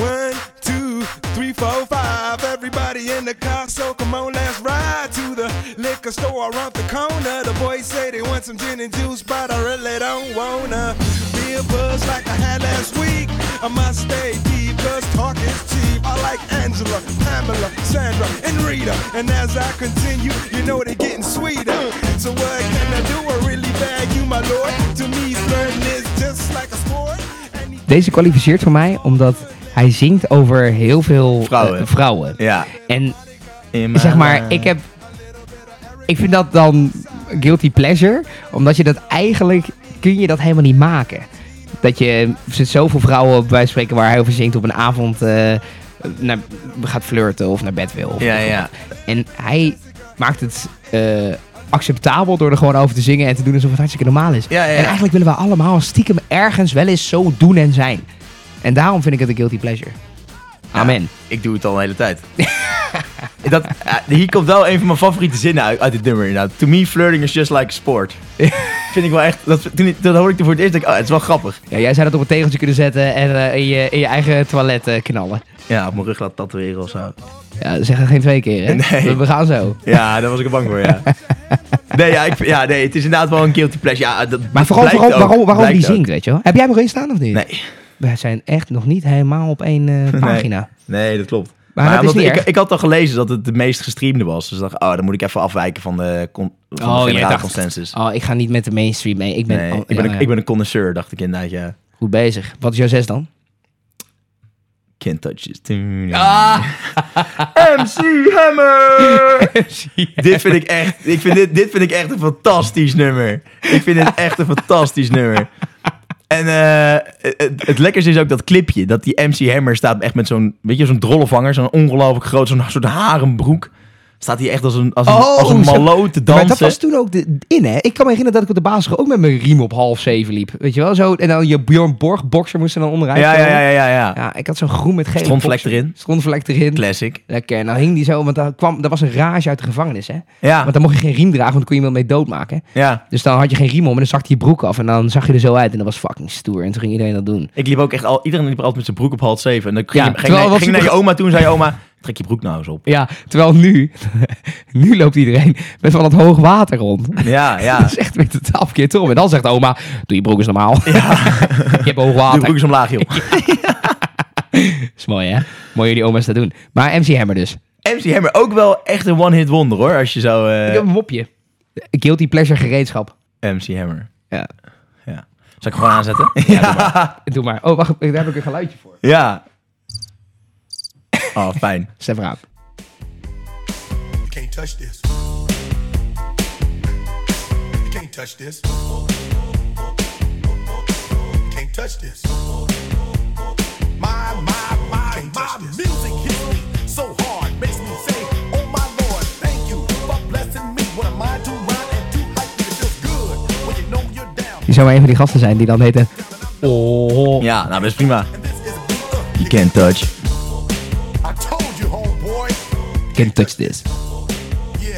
G: One, two, three, four, five. Everybody in the car, so come on, let's ride to the liquor store around the corner. The boys say they want some gin and juice, but I really don't wanna be a buzz like I had last week. I must stay deep, cause talk is cheap. I like Angela, Pamela, Sandra, and Rita. And as I continue, you know they're getting sweeter. So what can I do? I really bag you, my lord. To me, flirting is just like a sport. And
A: Deze kwalificeert voor mij omdat hij zingt over heel veel eh,
B: Vrouwen.
A: vrouwen.
B: Ja.
A: En
B: In
A: zeg maar,
B: mijn- eh,
A: ik heb... Ik vind dat dan guilty pleasure, omdat je dat eigenlijk... Kun je dat helemaal niet maken. Dat je... Er zitten zoveel vrouwen bij wijze van spreken waar hij over zingt op een avond... eh, naar, gaat flirten of naar bed wil. of
B: Ja, ja.
A: En hij maakt het eh, acceptabel door er gewoon over te zingen en te doen alsof het hartstikke normaal is.
B: Ja, ja, ja.
A: En eigenlijk willen we allemaal stiekem ergens wel eens zo doen en zijn. En daarom vind ik het een guilty pleasure. Amen.
B: Ik doe het al een hele tijd. dat, ja, hier komt wel een van mijn favoriete zinnen uit, uit dit nummer inderdaad. To me, flirting is just like a sport. Vind ik wel echt... Dat, toen, ik- dat hoorde ik toen voor het eerst, dacht ik, oh, het is wel grappig.
A: Ja, jij zou dat op een tegeltje kunnen zetten en eh, in, je, in je eigen toilet eh, knallen.
B: Ja, op mijn rug laten tatoeëren of zo.
A: Ja, zeg dat geen twee keer, hè?
B: Nee.
A: We, we gaan zo.
B: Ja, daar was ik er bang voor, ja. Nee, ja, ik, ja, nee, het is inderdaad wel een guilty pleasure. Ja, dat,
A: Maar
B: dat
A: vooral,
B: blijkt
A: vooral
B: ook,
A: waarom, waarom die
B: blijkt ook.
A: zingt, weet je wel. Heb jij hem erin staan of niet?
B: Nee,
A: We zijn echt nog niet helemaal op één eh, pagina.
B: nee, dat klopt.
A: Maar dat is
B: omdat
A: niet
B: ik,
A: erg.
B: ik had al gelezen dat het de meest gestreamde was. Dus ik dacht, oh, dan moet ik even afwijken van de, con, van de
A: jij
B: generale
A: Oh, dacht-
B: consensus.
A: Oh, ik ga niet met de mainstream mee. Ik ben,
B: nee,
A: oh,
B: ik, ben
A: ja,
B: een,
A: ja.
B: ik ben een connoisseur, dacht ik inderdaad, ja.
A: goed bezig. Wat is jouw zes dan?
B: Can't touch this. Ah! MC Hammer! dit vind ik echt, ik vind dit, dit vind ik echt een fantastisch nummer. Ik vind dit echt een fantastisch nummer. En eh, het, het lekkerste is ook dat clipje, dat die MC Hammer staat echt met zo'n, weet je, zo'n drollevanger, zo'n ongelooflijk groot, zo'n soort harenbroek. Staat hij echt als een, als een, als een
A: Oh, zo-
B: malloot te dansen.
A: Maar dat was toen ook de, in, hè? Ik kan me herinneren dat ik op de basisschool ook met mijn riem op half zeven liep. Weet je wel? Zo, en dan je Bjorn Borg boxer moest er dan onderuit.
B: ja, ja,
A: komen.
B: ja, ja, ja, ja.
A: Ja, ik had zo'n groen met gele
B: Strontvlek
A: boxer.
B: erin.
A: Strontvlek erin.
B: Classic.
A: Lekker. En dan hing die zo, want daar kwam, dat was een rage uit de gevangenis, hè?
B: Ja,
A: Want dan mocht je geen riem dragen, want dan kon je iemand mee doodmaken.
B: ja.
A: Dus dan had je geen riem om en dan zakte je broek af en dan zag je er zo uit en dat was fucking stoer. En toen ging iedereen dat doen.
B: Ik liep ook echt al, iedereen liep altijd met zijn broek op half zeven. En dan
A: Ja,
B: ging, je- ging,
A: terwijl
B: je-
A: wat
B: ging
A: ze-
B: naar je oma toe en zei je oma, trek je broek nou eens op.
A: Ja, terwijl nu, nu loopt iedereen met van dat hoog water rond.
B: Ja, ja.
A: Dat is echt weer totaal verkeerd om. En dan zegt oma, doe je broek eens normaal. je hebt hoog
B: Doe
A: water.
B: broek eens omlaag, joh.
A: is mooi, hè? Mooi jullie oma's dat doen. Maar MC Hammer
B: Eh.
A: dus.
B: MC Hammer ook wel echt een one-hit wonder, hoor. Als je zo... eh,
A: Ik heb een mopje. Guilty pleasure gereedschap.
B: MC Hammer.
A: Ja.
B: Ja. Zal ik hem gewoon aanzetten? Ja.
A: Doe maar. Oh, wacht. Daar heb ik een geluidje voor.
B: Ja. Oh, fijn.
A: Zet maar aan.
G: You can't touch this. You can't touch this. You can't touch this.
H: My, my, my, my music hits me so hard, makes me say, Oh my Lord, thank you for blessing me. When I'm mind to run and too hype, it feels good when you know you're down.
A: Je zou maar een van die gasten zijn die dan heten... Oh.
B: Ja, nou, best prima.
H: This is a beat up.
B: You can't touch.
H: I told you, homeboy.
A: Can't touch this.
H: Yeah,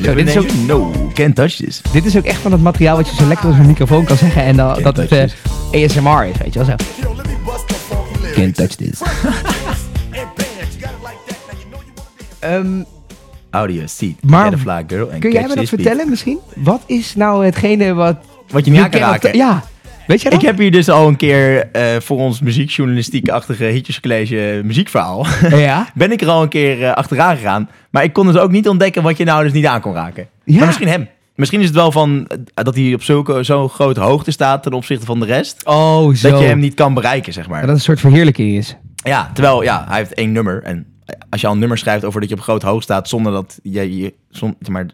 H: Yeah, that's
A: Zo, dit is
H: how we live.
A: ook,
B: No, can't touch this.
A: dit is ook echt van het materiaal wat je zo lekker als een microfoon kan zeggen. En dan, dat het eh, ASMR is, weet je wel zo.
H: Yo, let me bust the funky lyrics.
B: Can't touch this.
H: And bands, you got it like that. Now you know you want to dance.
A: Ehm,
B: Audio seat.
A: Maar
B: get a fly girl and
A: kun jij
B: catch
A: me dat
B: this beat.
A: vertellen misschien? Wat is nou hetgene wat...
B: Wat je niet
A: je
B: aan kan
A: kennelijk-
B: raken.
A: Ja, weet jij dat?
B: Ik heb hier dus al een keer eh, voor ons muziekjournalistiek-achtige hitjescollege muziekverhaal.
A: Ja.
B: ben ik er al een keer eh, achteraan gegaan. Maar ik kon dus ook niet ontdekken wat je nou dus niet aan kon raken.
A: Ja.
B: Maar misschien hem. Misschien is het wel van eh, dat hij op zulke- zo'n grote hoogte staat ten opzichte van de rest.
A: Oh, zo.
B: Dat je hem niet kan bereiken, zeg maar.
A: Dat het een soort verheerlijking is.
B: Ja, terwijl ja, hij heeft één nummer. En eh, als je al een nummer schrijft over dat je op groot hoog staat zonder dat je, je zon- zeg maar,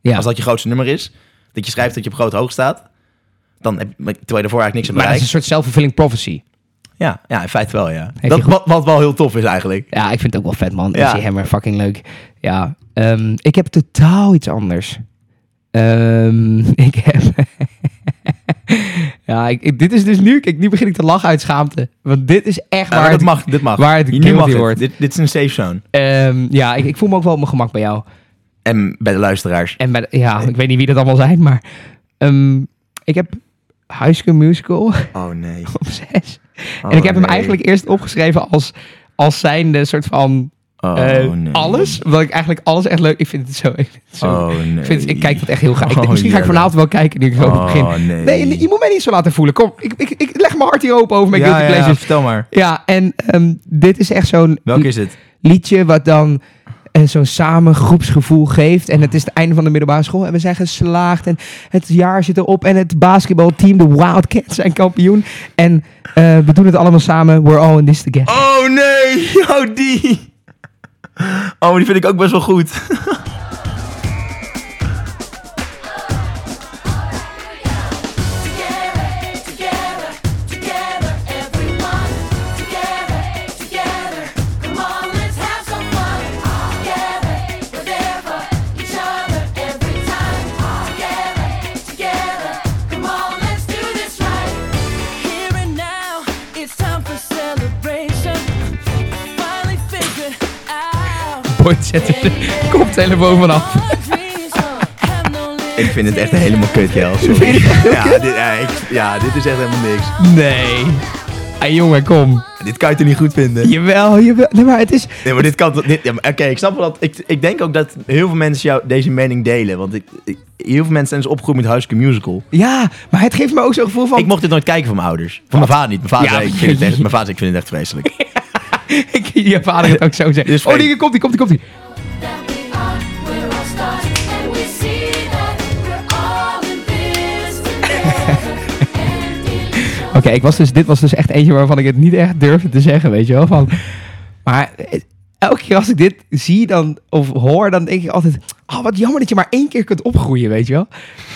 A: Ja.
B: als dat je grootste nummer is, dat je schrijft dat je op groot hoog staat, dan heb, terwijl je daarvoor eigenlijk niks hebt
A: maar dat is een
B: bereikt.
A: soort self-fulfilling prophecy.
B: Ja, ja, in feite wel, ja.
A: je
B: Dat,
A: goed-
B: wat, wat wel heel tof is eigenlijk.
A: Ja, ik vind het ook wel vet, man.
B: Ja.
A: MC Hammer, fucking leuk. Ja, ehm, ik heb totaal iets anders. Ehm, ik heb... ja, ik, ik- dit is dus nu... Kijk, nu begin ik te lachen uit schaamte. Want dit is echt
B: Ja,
A: waar...
B: dat
A: het-
B: mag, dit mag.
A: waar het
B: Hier,
A: guilty
B: mag het.
A: wordt.
B: Dit, dit is een safe zone.
A: Ehm, ja, ik, ik voel me ook wel op mijn gemak bij jou.
B: En bij de luisteraars.
A: En bij de- ja, ik weet niet wie dat allemaal zijn, maar... ehm, ik heb High School Musical
B: Oh nee.
A: op zes. en ik heb hem
B: Oh, nee.
A: eigenlijk eerst opgeschreven als, als zijnde soort van...
B: Oh
A: Eh,
B: nee.
A: Alles. Omdat ik eigenlijk alles echt leuk... Ik vind het zo... Ik, vind het zo,
B: Oh, nee.
A: ik, vind het- ik kijk dat echt heel graag. Ik denk,
B: Oh,
A: misschien ga ik
B: Jelle.
A: vanavond wel kijken nu ik zo op het
B: Oh,
A: begin.
B: nee.
A: je moet mij niet zo laten voelen. Kom, ik, ik, ik leg mijn hart hier open over mijn
B: Ja,
A: guilty
B: ja, ja,
A: pleasures.
B: vertel maar.
A: Ja, en ehm, dit is echt zo'n
B: Welke is het?
A: liedje wat dan eh, zo'n samen groepsgevoel geeft. En het is het einde van de middelbare school en we zijn geslaagd. En het jaar zit erop en het basketbalteam, de Wildcats, zijn kampioen. En eh, we doen het allemaal samen. We're all in this together.
B: Oh nee, oh die. Oh, maar die vind ik ook best wel goed.
A: Oh, Boy, zet er de koptelefoon vanaf.
B: Ik vind het echt helemaal kut, Jel. Sorry. Ja, dit, ja, ik- ja, dit is echt helemaal niks.
A: Nee. Hey, jongen, kom.
B: Dit kan je toch niet goed vinden?
A: Jawel, jawel. Nee, maar het is...
B: Nee, maar dit kan toch dit- ja, maar Oké, ik snap wel dat... Ik, ik denk ook dat heel veel mensen jou deze mening delen. Want ik, ik- heel veel mensen zijn dus opgegroeid met High School Musical.
A: Ja, maar het geeft me ook zo'n gevoel van...
B: Ik mocht dit nooit kijken van mijn ouders. Van mijn vader niet. Mijn vader,
A: Oh. Ja,
B: zei, ik, vind het echt, mijn vader zei, ik vind het echt vreselijk.
A: Ik, je vader het ook zo zeggen.
B: Dus
A: oh,
B: vreemd.
A: die komt, die komt, die komt. Die. Oké, ik was dus, dit was dus echt eentje waarvan ik het niet echt durfde te zeggen, weet je wel. Van, maar eh, elke keer als ik dit zie dan, of hoor, dan denk ik altijd... Oh, wat jammer dat je maar één keer kunt opgroeien, weet je wel.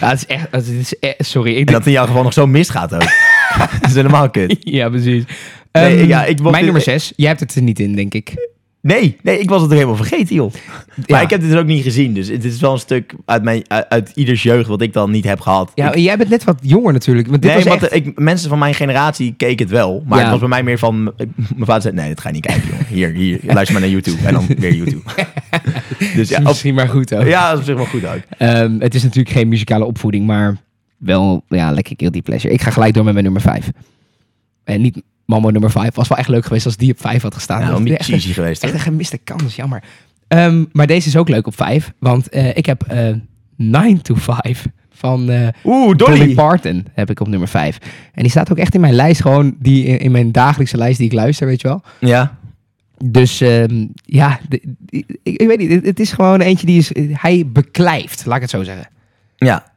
A: Ja, het is echt... Het is echt- sorry, ik
B: En
A: denk...
B: dat in jouw geval nog zo misgaat ook. dat is helemaal kut.
A: Ja, precies.
B: Nee,
A: Ehm,
B: ja, ik mocht
A: mijn
B: dit-
A: nummer 6. Jij hebt het er niet in, denk ik.
B: Nee, nee, ik was het ook helemaal vergeten, joh.
A: Ja.
B: Maar ik heb dit dus ook niet gezien. Dus dit is wel een stuk uit, mijn, uit, uit ieders jeugd wat ik dan niet heb gehad.
A: Ja,
B: Ik-
A: jij bent net wat jonger natuurlijk. Want eh, dit
B: nee,
A: was
B: want
A: echt...
B: ik, mensen van mijn generatie keken het wel. Maar
A: Ja.
B: het was bij mij meer van... ik- Mijn vader zei, nee, dat ga je niet kijken, joh. Hier, hier, luister maar naar YouTube. En dan weer YouTube. dus ja,
A: is
B: op-
A: misschien maar goed ook.
B: ja, dat is op zich wel goed uit.
A: Ehm, het is natuurlijk geen muzikale opvoeding, maar wel ja, lekker guilty pleasure. Ik ga gelijk door met mijn nummer 5. En niet Mambo nummer 5. Was wel echt leuk geweest als die op 5 had gestaan.
B: Nou,
A: Dat
B: een
A: is
B: beetje
A: echt, een-
B: cheesy geweest,
A: echt
B: hoor.
A: een gemiste kans, jammer. Ehm, maar deze is ook leuk op 5, want eh, ik heb eh 9 to 5 van eh,
B: Oeh,
A: Dolly
B: Dolly.
A: Parton heb ik op nummer 5. En die staat ook echt in mijn lijst, gewoon die, in, in mijn dagelijkse lijst die ik luister, weet je wel.
B: Ja.
A: Dus ehm, ja, de- die- ik, ik weet niet, het, het is gewoon eentje die is, hij beklijft, laat ik het zo zeggen.
B: Ja.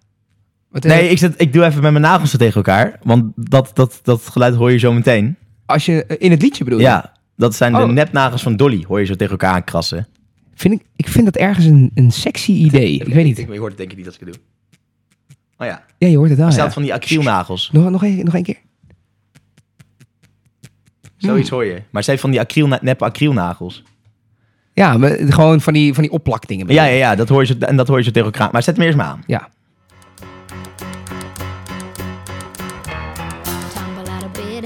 A: Wat, eh,
B: Nee, ik, zit, ik doe even met mijn nagels zo tegen elkaar. Want dat, dat, dat geluid hoor je zo meteen.
A: Als je eh, in het liedje bedoelt.
B: Ja, dat zijn
A: Oh.
B: de nepnagels van Dolly. Hoor je zo tegen elkaar aankrassen.
A: Vind ik, ik vind dat ergens een, een sexy idee. Ik weet niet.
B: Ik hoor het denk ik niet als ik het doe. Oh ja,
A: Ja, je hoort het wel.
B: staat
A: ja.
B: van die acrylnagels.
A: Nog, nog, een, nog een keer.
B: Zoiets hoor je. Hmm. Maar zij heeft van die acryl, nep acrylnagels.
A: Ja, maar gewoon van die, van die opplakdingen.
B: Ja, ja, ja, dat hoor je zo, en dat hoor je zo tegen elkaar. aan. Maar zet hem eerst maar aan.
A: ja.
D: Tumble out of bed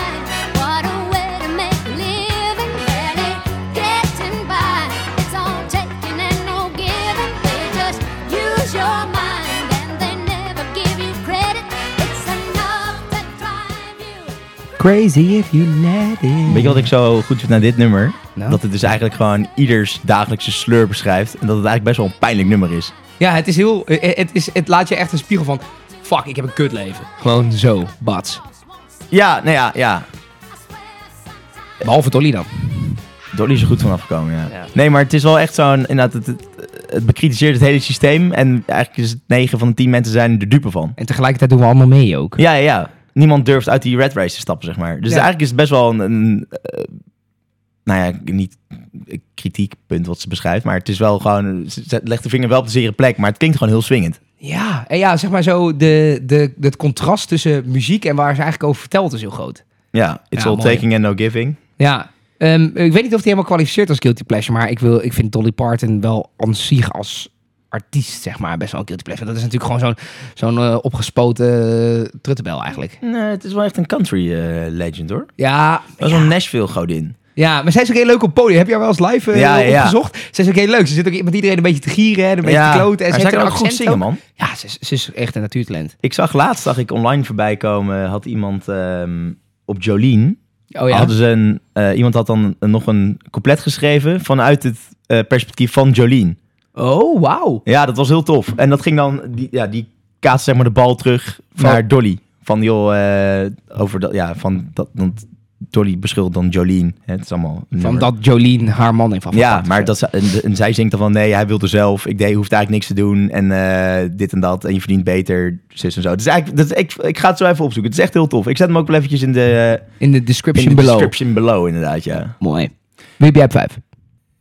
D: What a way to make a living. Barely getting by. It's all taking and no giving. They just use your mind and they never give you credit. It's enough to drive you.
A: Crazy if you let it.
B: Weet je wat ik zo goed vind aan dit nummer?
A: Nou?
B: Dat het dus eigenlijk gewoon ieders dagelijkse sleur beschrijft. En dat het eigenlijk best wel een pijnlijk nummer is.
A: Ja, het is heel. eh, Het, is, het laat je echt een spiegel van. Fuck, ik heb een kutleven. Gewoon zo, bats.
B: Ja, nou ja, ja.
A: Behalve Dolly dan.
B: Dolly is er goed van afgekomen, ja.
A: Ja.
B: Nee, maar het is wel echt zo'n... Inderdaad, het, het, het bekritiseert het hele systeem. En eigenlijk is het 9 van de 10 mensen zijn er dupe van.
A: En tegelijkertijd doen we allemaal mee ook.
B: Ja, ja, ja. Niemand durft uit die red race te stappen, zeg maar. Dus
A: Ja.
B: eigenlijk is het best wel een... een, eh, nou ja, niet een kritiekpunt wat ze beschrijft. Maar het is wel gewoon... Ze ze legt de vinger wel op de zere plek. Maar het klinkt gewoon heel swingend.
A: Ja, en ja, zeg maar zo. De, de, het contrast tussen muziek en waar ze eigenlijk over vertelt is heel groot.
B: Ja, it's
A: Ja,
B: all
A: mooi.
B: taking and no giving.
A: Ja. Ehm, ik weet niet of die helemaal kwalificeert als guilty pleasure, maar ik, wil, ik vind Dolly Parton wel aan zich als artiest, zeg maar, best wel een guilty pleasure. Dat is natuurlijk gewoon zo'n zo'n eh, opgespoten eh, truttebel eigenlijk.
B: Nee, het is wel echt een country eh, legend, hoor.
A: Ja,
B: Dat is wel een Nashville-godin.
A: ja, maar zij is ook heel leuk op het podium. Heb jij wel eens live eh
B: Ja, ja, ja.
A: opgezocht? Zij is ook heel leuk. Ze zit ook met iedereen een beetje te gieren en een beetje te kloten. En
B: maar
A: ze heeft
B: zij kan
A: een
B: ook goed
A: accent
B: zingen,
A: ook.
B: man.
A: Ja, ze, is- ze is echt een natuurtalent.
B: Ik zag laatst, zag ik online voorbij komen, had iemand ehm, op Jolene,
A: Oh ja.
B: hadden ze een, eh, iemand had dan een- nog een couplet geschreven vanuit het eh, perspectief van Jolene.
A: Oh, wauw.
B: Ja, dat was heel tof. En dat ging dan, die, ja, die kaatste zeg maar de bal terug naar Dolly. Van joh, eh, over dat, ja, van dat, want Dolly beschuldigt dan Jolene. Hè, het is allemaal een
A: Van
B: nummer.
A: dat Jolien haar man heeft
B: Ja,
A: afgepakt.
B: maar dat, ze- en, en zij zingt dan van nee, hij wilde zelf. Ik deed, je hoeft eigenlijk niks te doen. En eh, dit en dat. En je verdient beter. Zus en zo. Dus eigenlijk, dat, is- ik, ik ga het zo even opzoeken. Het is echt heel tof. Ik zet hem ook wel eventjes in de,
A: In de
B: in
A: description
B: de
A: below.
B: description below, inderdaad. Ja.
A: Mooi. Wie heb jij op vijf?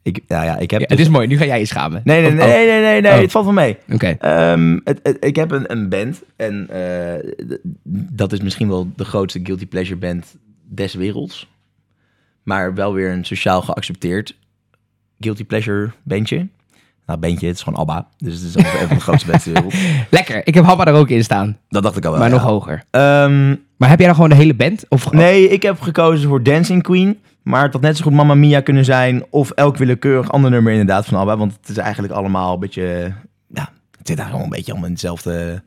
B: Ik, nou ja, ik heb.
A: Ja,
B: dus-
A: het is mooi. Nu ga jij je schamen.
B: nee, nee,
A: Oh,
B: nee, nee, nee, nee,
A: Oh.
B: Het valt wel mee.
A: Oké.
B: Ehm, het, het- ik heb een, een band. En eh, d- dat is misschien wel de grootste Guilty Pleasure band des werelds. Maar wel weer een sociaal geaccepteerd Guilty Pleasure bandje. Nou, bandje, het is gewoon ABBA. Dus het is ook een van de grootste bands ter wereld.
A: Lekker. Ik heb Habba er ook in staan.
B: Dat dacht ik al wel.
A: maar
B: ja.
A: nog hoger.
B: Ehm,
A: Maar heb jij dan gewoon de hele band? Of
B: nee, ik heb gekozen voor Dancing Queen. Maar het had net zo goed Mamma Mia kunnen zijn. Of elk willekeurig ander nummer inderdaad van ABBA. Want het is eigenlijk allemaal een beetje... Ja, het zit daar gewoon een beetje om in hetzelfde...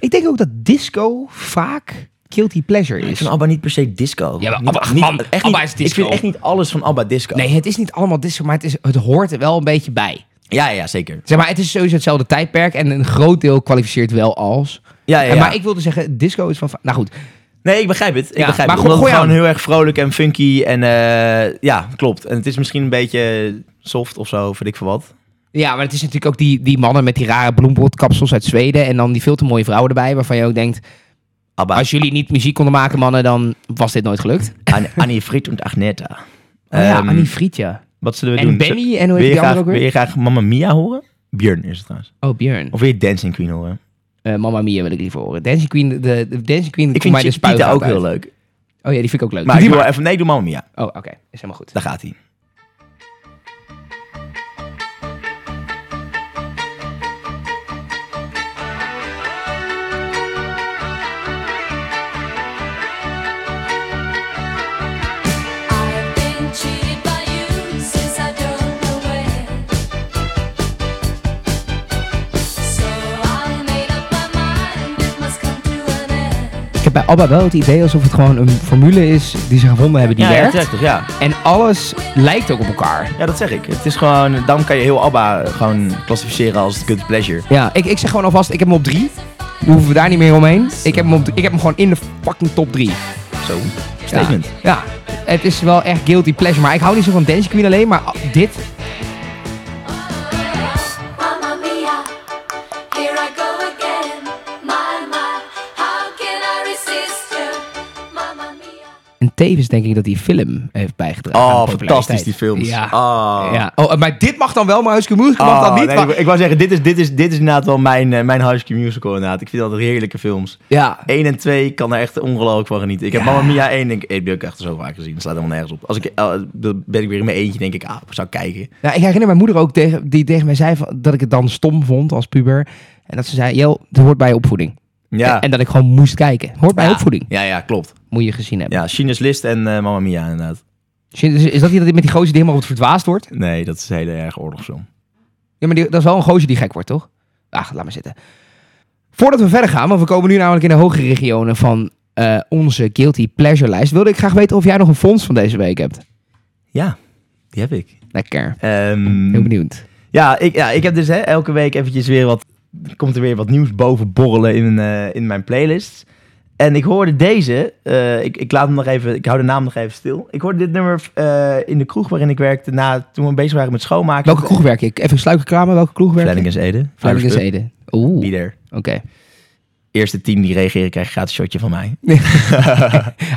A: Ik denk ook dat disco vaak guilty pleasure
B: Ik
A: is.
B: vind ABBA niet per se disco.
A: Ja, maar
B: Niet-
A: ABBA-
B: niet-
A: man,
B: echt
A: ABBA
B: niet-
A: is disco.
B: Ik vind echt niet alles van ABBA disco.
A: Nee, het is niet allemaal disco, maar het, is, het hoort er wel een beetje bij.
B: Ja, ja, zeker.
A: Zeg maar, het is sowieso hetzelfde tijdperk en een groot deel kwalificeert wel als.
B: Ja, ja,
A: En
B: ja.
A: Maar ik wilde zeggen, disco is van... va- Nou goed,
B: Nee, ik begrijp het. Ik
A: Ja,
B: begrijp
A: maar
B: het.
A: go-
B: Omdat het
A: gooi
B: gewoon
A: aan.
B: heel erg vrolijk en funky en eh, ja, klopt. En het is misschien een beetje soft of zo, vind ik voor wat.
A: Ja, maar het is natuurlijk ook die, die mannen met die rare bloembroodkapsels uit Zweden. En dan die veel te mooie vrouwen erbij. Waarvan je ook denkt,
B: ABBA.
A: als jullie niet muziek konden maken, mannen, dan was dit nooit gelukt.
B: An- Annie Frit en Agneta.
A: Oh ja,
B: Ehm,
A: Annie Frietje.
B: Wat zullen we
A: En
B: doen?
A: Benny en hoe
B: wil
A: heet
B: je,
A: die
B: graag,
A: andere ook
B: wil
A: weer?
B: je graag Mamma Mia horen? Björn is het trouwens.
A: Oh, Björn.
B: Of wil je Dancing Queen horen?
A: Eh, Mamma Mia wil ik liever horen. Dancing Queen, de, de Dancing Queen
B: Ik
A: komt
B: vind
A: mij dus de spuit
B: Chiquita ook heel leuk.
A: Oh ja, die vind ik ook leuk.
B: Maar
A: Doe die
B: ik doe wel even, nee, ik doe Mamma Mia.
A: maar. Oh, oké. Is helemaal goed.
B: Daar gaat hij.
F: I've been cheated by you since I don't know when. So I made up my mind it must come to an end.
A: Ik heb bij ABBA wel het idee alsof het gewoon een formule is die ze gevonden hebben die
B: ja, ja,
A: werkt.
B: terecht, ja.
A: en alles lijkt ook op elkaar.
B: Ja, dat zeg ik. Het is gewoon, daarom kan je heel ABBA gewoon klassificeren als good pleasure.
A: Ja, ik, ik zeg gewoon alvast, ik heb hem op drie. Dan hoeven we daar niet meer omheen. Ik heb hem, op, ik heb hem gewoon in de fucking top drie.
B: Zo, statement.
A: Ja, ja, het is wel echt guilty pleasure. Maar ik hou niet zo van Dancing Queen alleen, maar ah, dit...
F: Mamma mia, here I go again. My my, how can I resist you, Mamma mia?
A: En tevens denk ik dat die film heeft bijgedragen. aan
B: Oh,
A: de
B: fantastisch
A: populariteit.
B: die films.
A: Ja.
B: Ah.
A: ja. Oh, maar dit mag dan wel, maar Husker Moes mag
B: Ah,
A: dan niet.
B: nee,
A: maar-
B: ik, ik wou zeggen, dit is, dit, is, dit is inderdaad wel mijn, eh, mijn High School Musical inderdaad. Ik vind altijd heerlijke films.
A: Ja.
B: 1 en 2 kan er echt ongelooflijk van genieten. Ik heb Mamma Mia 1 denk ik, eh, die heb ik echt zo vaak gezien. Dat slaat helemaal nergens op. Als ik, eh, dan ben ik weer in mijn eentje, denk ik, ah, ik zou kijken.
A: Nou, ik herinner mijn moeder ook tegen, die tegen mij zei van, dat ik het dan stom vond als puber. En dat ze zei, joh, dat hoort bij je opvoeding.
B: Ja,
A: En, en dat ik gewoon moest kijken. Hoort bij je
B: ja.
A: opvoeding.
B: Ja, ja, klopt.
A: Moet je gezien hebben.
B: Ja, China's List en eh Mamma Mia inderdaad.
A: Is, is dat die dat met die gozer die helemaal op het verdwaasd wordt?
B: Nee, dat is een hele erg oorlogsfilm.
A: Ja, maar die, dat is wel een gozer die gek wordt, toch? Ach, laat maar zitten. Voordat we verder gaan, want we komen nu namelijk in de hogere regionen van eh, onze Guilty Pleasure lijst, wilde ik graag weten of jij nog een fonds van deze week hebt.
B: Ja, die heb ik.
A: Lekker.
B: Ehm,
A: Heel benieuwd.
B: Ja, ik, ja, ik heb dus hè, elke week eventjes weer wat... Komt er weer wat nieuws boven borrelen in, eh, in mijn playlist. En ik hoorde deze... eh, ik, ik, laat hem nog even, ik hou de naam nog even stil. Ik hoorde dit nummer eh, in de kroeg waarin ik werkte... Na, toen we bezig waren met schoonmaken.
A: Welke kroeg werk ik? Even sluikreclame, welke kroeg werk ik?
B: Flanagan's Ede.
A: Flanagan's
B: Flowers Pub.
A: Ede. Oeh,
B: Be
A: oké.
B: there. Eerste team die reageren krijgt een gratis shotje van mij.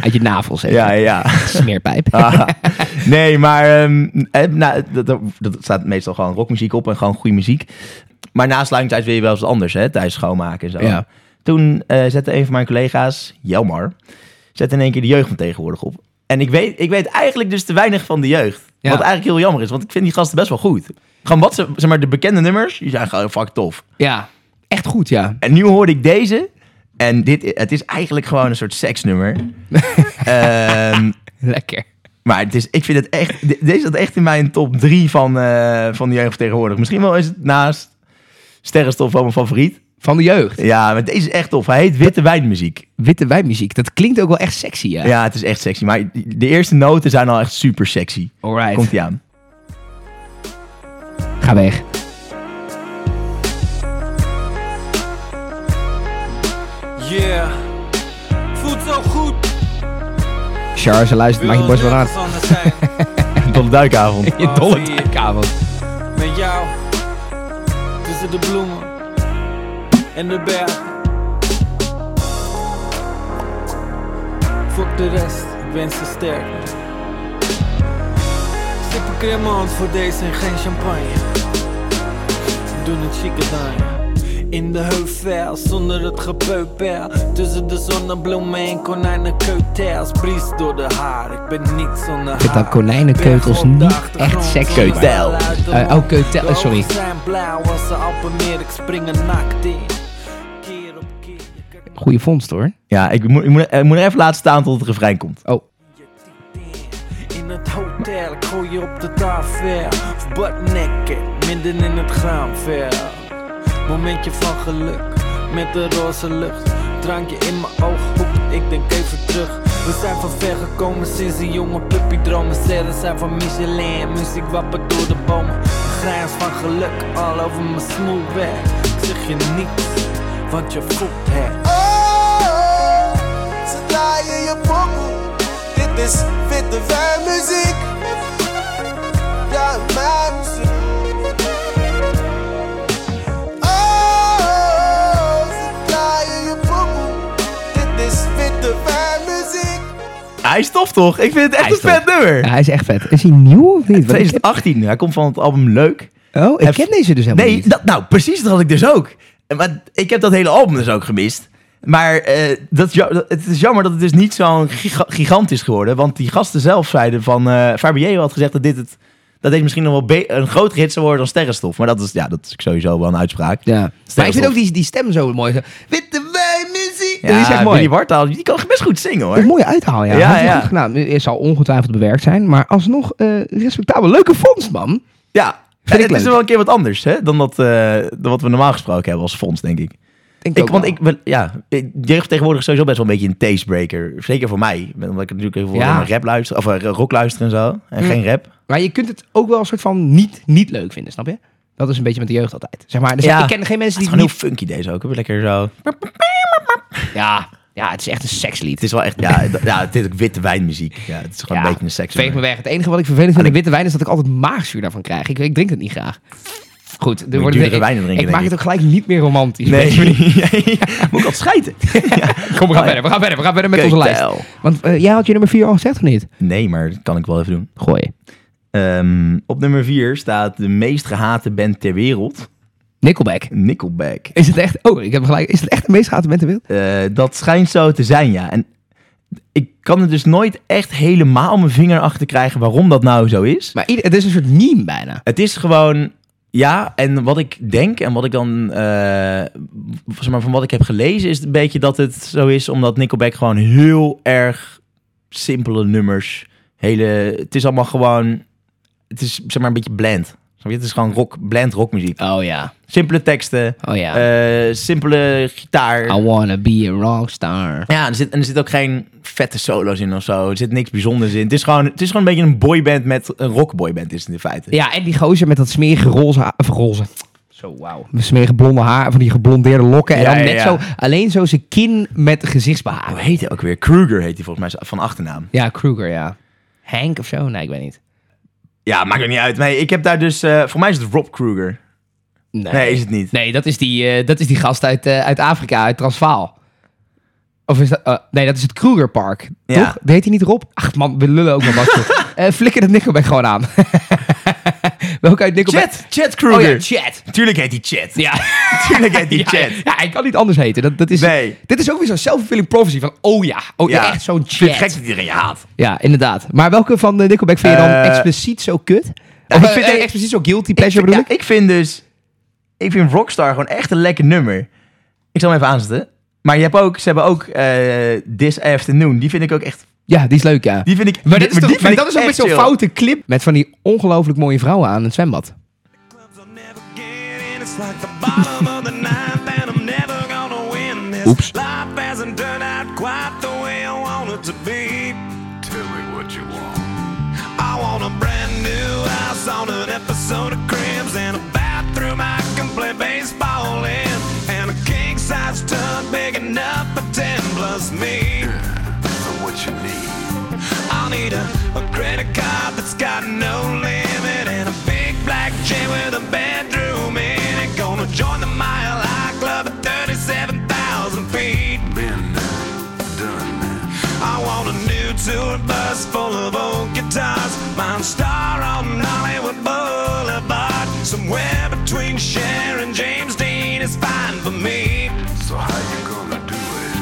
A: Uit je navels, hè?
B: Ja, ja.
A: Smeerpijp.
B: Ah, nee, maar ehm, eh, nou, dat, dat, dat staat meestal gewoon rockmuziek op en gewoon goede muziek. Maar na sluitingstijd wil je wel eens wat anders, hè? Thuis schoonmaken en zo.
A: Ja.
B: Toen eh, zette een van mijn collega's, Jelmar, zette in één keer de jeugd van tegenwoordig op. En ik weet, ik weet eigenlijk dus te weinig van de jeugd.
A: Ja.
B: Wat eigenlijk heel jammer is, want ik vind die gasten best wel goed. Gewoon wat ze, zeg maar, de bekende nummers, die zijn gewoon fuck tof.
A: Ja, echt goed, ja.
B: En nu hoorde ik deze. En dit, het is eigenlijk gewoon een soort seksnummer. Ehm
A: Lekker.
B: maar het is, ik vind het echt. de- Deze zat echt in mijn top 3 van, eh, van de jeugd tegenwoordig. Misschien wel is het naast Sterrenstof wel mijn favoriet.
A: Van de jeugd.
B: Ja, maar deze is echt tof. Hij heet Witte Wijnmuziek.
A: Witte wijnmuziek, dat klinkt ook wel echt sexy, ja.
B: Ja, het is echt sexy. Maar de eerste noten zijn al echt super sexy.
A: Alright.
B: Komt ie aan.
A: Ga weg.
E: Yeah, voelt zo goed.
A: Charles, luister, maak je borst wel aan. Oh,
E: nergens anders zijn.
B: Tot de duikavond.
A: Je dolle dijkavond.
E: Met jou tussen de bloemen en de berg. Fuck de rest, ik ben zo sterk. Sip een cremant voor deze en geen champagne. We doen het chique dan. In de heuvel, zonder het gepeupel. Tussen de zonnebloemen en konijnenkeutels. Bries door de haar, ik ben niet zonder haar.
A: vind dat konijnenkeutels
E: Berg op de
A: niet
E: achtergrond,
A: echt sexy.
B: Keutel.
A: Eh, oh, keutel, eh,
E: De
A: sorry.
E: ogen zijn blauw als de Alpenmeer, ik spring er naakt in. Keer op keer. je kijkt me
A: Goeie vondst, hoor.
B: Ja, ik moet, ik, moet, ik moet er even laten staan tot het refrein komt.
A: Oh,
E: in. In het hotel, ik gooi je op de tafel. Of butt naked, midden in het graanveld. Momentje van geluk, met de roze lucht. Drankje in mijn ooghoek, ik denk even terug. We zijn van ver gekomen sinds een jonge puppy dromen. Sterren zijn van Michelin, muziek wappert door de bomen. Een grijns van geluk, al over mijn smoelweg. Ik zeg je niets, want je voelt het.
I: Oh, ze draaien je pokoe. Dit is witte wijnmuziek. Ja, mijn muziek. Oh, ze draaien je pokoe. Dit is witte wijnmuziek.
B: Hij is tof toch? Ik vind het echt
A: Hij
B: een
A: is
B: vet
A: tof.
B: nummer.
A: ja, hij is echt vet. Is hij nieuw of niet? Want ik ken-
B: 2018. Hij komt van het album Leuk.
A: Oh, ik
B: Hij-
A: ken deze dus helemaal
B: nee,
A: niet.
B: dat- nou, precies dat had ik dus ook. En Maar ik heb dat hele album dus ook gemist. Maar eh, dat, is ja- dat- het is jammer dat het dus niet zo'n giga- gigant is geworden. Want die gasten zelf zeiden van... eh Fabier had gezegd dat dit het... Dat deze misschien nog wel be- een groter hit zou worden dan Sterrenstof. Maar dat is, ja, dat is sowieso wel een uitspraak.
A: Ja. Maar ik vind
B: Sterrenstof.
A: ook die, die stem zo mooi. Zo, Witte wijnmuziek.
B: Ja,
A: dat is echt mooi.
B: Willy Wartaal, die kan best goed zingen hoor.
A: Een mooie uithaal, ja.
B: Ja,
A: Hij heeft
B: ja.
A: goed gedaan. het zal ongetwijfeld bewerkt zijn, maar alsnog eh, respectabel. Leuke vondst, man.
B: Ja,
A: Vind ik
B: het is
A: leuk.
B: wel een keer wat anders hè, dan, dat, eh, dan wat we normaal gesproken hebben als fonds, denk ik.
A: Denk
B: Ik,
A: ook
B: want
A: wel.
B: ik ben, ja, ik- jeugd tegenwoordig is sowieso best wel een beetje een tastebreaker. Zeker voor mij, omdat ik natuurlijk heel veel
A: Ja. Mm.
B: naar rap luister, of eh, rock luister en zo. En geen rap.
A: Maar je kunt het ook wel een soort van niet, niet leuk vinden, snap je? Dat is een beetje met de jeugd altijd. Zeg maar, er zijn-
B: Ja.
A: Dus ik ken geen mensen
B: Het is
A: die
B: gewoon heel
A: het
B: funky deze ook. hè. Lekker zo.
A: niet... Ja, ja, het is echt een
B: Het
A: sekslied.
B: is wel echt, ja, d- ja het is ook witte wijnmuziek. Ja, het is gewoon
A: Ja,
B: een beetje een seks.
A: Veeg me weg. Het enige wat ik vervelend vind aan witte wijn is dat ik altijd maagzuur daarvan krijg. Ik, ik drink het niet graag. Goed, er
B: je
A: wordt
B: duurdere
A: ik-
B: wijnen drinken,
A: Ik maak
B: denk
A: het ook gelijk niet meer romantisch.
B: Nee,
A: mensen.
B: moet ik al schijten?
A: Kom, we gaan verder. We gaan verder. We gaan verder met onze lijst.
B: Keutel.
A: Want eh, jij had je nummer 4 al gezegd of niet?
B: Nee, maar dat kan ik wel even doen.
A: Gooi.
B: Ehm, op nummer 4 staat de meest gehate band ter wereld,
A: Nickelback.
B: Nickelback.
A: Is het echt? Oh, ik heb gelijk. Is het echt de meest gehate band ter wereld?
B: Eh, dat schijnt zo te zijn, ja. En ik kan er dus nooit echt helemaal mijn vinger achter krijgen waarom dat nou zo is.
A: Maar ieder- het is een soort meme bijna.
B: Het is gewoon, ja, en wat ik denk en wat ik dan, eh, zeg maar, van wat ik heb gelezen, is een beetje dat het zo is omdat Nickelback gewoon heel erg simpele nummers, hele, het is allemaal gewoon, het is zeg maar een beetje bland. Snap je? Het is gewoon rock, bland rockmuziek.
A: Oh ja.
B: Simpele teksten,
A: Oh ja.
B: eh, simpele gitaar.
A: I wanna be a rockstar.
B: Ja, er zit, en er zit ook geen vette solo's in of zo. Er zit niks bijzonders in. Het is gewoon, het is gewoon een beetje een boyband met een rockboyband is het in feite.
A: Ja, en die gozer met dat smerige roze haar. Of roze. Zo, wauw. Smerige blonde haar. Van die geblondeerde lokken. En
B: Ja,
A: dan
B: ja,
A: net
B: ja.
A: zo. Alleen zo zijn kin met
B: Hoe
A: gezichtsbehaar.
B: heet hij ook weer? Kruger heet hij volgens mij van achternaam.
A: Ja, Kruger, ja. Hank of zo? Nee, ik weet niet.
B: Ja, maakt ook niet uit. Nee, ik heb daar dus... eh, voor mij is het Rob Kruger. Nee, is het niet.
A: Nee, dat is die, eh, dat is die gast uit, eh, uit Afrika, uit Transvaal. Of is dat... eh, nee, dat is het Krugerpark.
B: Ja.
A: Toch? Heet hij niet Rob? Ach man, we lullen ook nog wat. joh. Eh, flikker dat Nickelback gewoon aan. Welke uit Nickelback?
B: Chat! Chat
A: Oh
B: Kruger!
A: ja, Chat.
B: Tuurlijk heet hij Chat.
A: Ja.
B: Tuurlijk heet hij
A: Ja,
B: Chat.
A: Ja, hij kan niet anders heten. Dat, dat is,
B: Nee.
A: Dit is ook weer zo'n self-fulfilling prophecy van, oh ja, oh ja, echt zo'n
B: Ik vind het
A: Chat.
B: gek dat iedereen je haat.
A: Ja, inderdaad. Maar welke van de Nickelback vind je dan
B: Eh,
A: expliciet zo kut?
B: ja,
A: of
B: ik
A: eh,
B: vind-
A: eh, expliciet zo guilty pleasure bedoel
B: Ja,
A: ik?
B: ik vind dus... Ik vind Rockstar gewoon echt een lekker nummer. Ik zal hem even aanzetten. Maar je hebt ook, ze hebben ook eh, This Afternoon. Die vind ik ook echt...
A: Ja, die is leuk, ja.
B: Die vind ik...
A: Maar,
B: die-
A: dat is, toch,
B: die
A: maar
B: vind
A: dat
B: ik
A: is ook met
B: echt
A: zo'n
B: chill.
A: foute clip met van die ongelooflijk mooie vrouwen aan het zwembad.
G: Clubs I'll never get in. It's like the bottom of the ninth, and I'm never gonna win this.
A: Oops.
G: Life hasn't turned out quite the way I want it to be. Tell me what you want. I want a brand new house on an episode of Cribs and a bathroom I can play baseball in, and a king size tub big enough for ten plus me. So what you need? I'll need a, a credit card that's got no limit and a big black chain with a bedroom in it. Gonna join the Mile High Club at 37,000 feet. Been done I want a new tour bus full of old guitars. Mine star on Hollywood Boulevard. Somewhere between Cher and James Dean is fine for me. So how you gonna do it?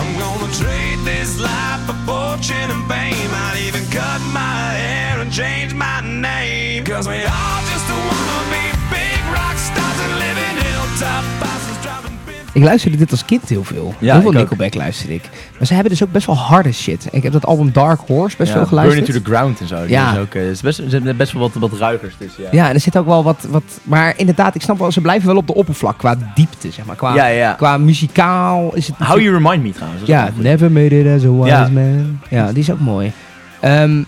G: I'm gonna trade this life for fortune and fame. I'd even cut my hair and change my name. Cause we all just wanna be big rock stars and live in hilltop buses driving bins.
A: Ik luisterde dit als kind heel veel.
B: Ja,
A: heel veel
B: ik ook.
A: Nickelback luisterde ik. Maar ze hebben dus ook best wel harde shit. Ik heb dat album Dark Horse best veel
B: Burn
A: geluisterd.
B: It to the Ground en zo. Die
A: Ja.
B: Is ook, eh, is best, er zitten best wel wat, wat ruigers tussen. Ja.
A: Ja, en er zit ook wel wat, wat... Maar inderdaad, ik snap wel, ze blijven wel op de oppervlak qua diepte, zeg maar. Qua,
B: Ja, ja.
A: qua muzikaal is het...
B: How You Remind Me trouwens. dat is
A: Ja,
B: ook goed.
A: Never Made It As A Wise
B: Ja.
A: Man. Ja, die is ook mooi. Ehm,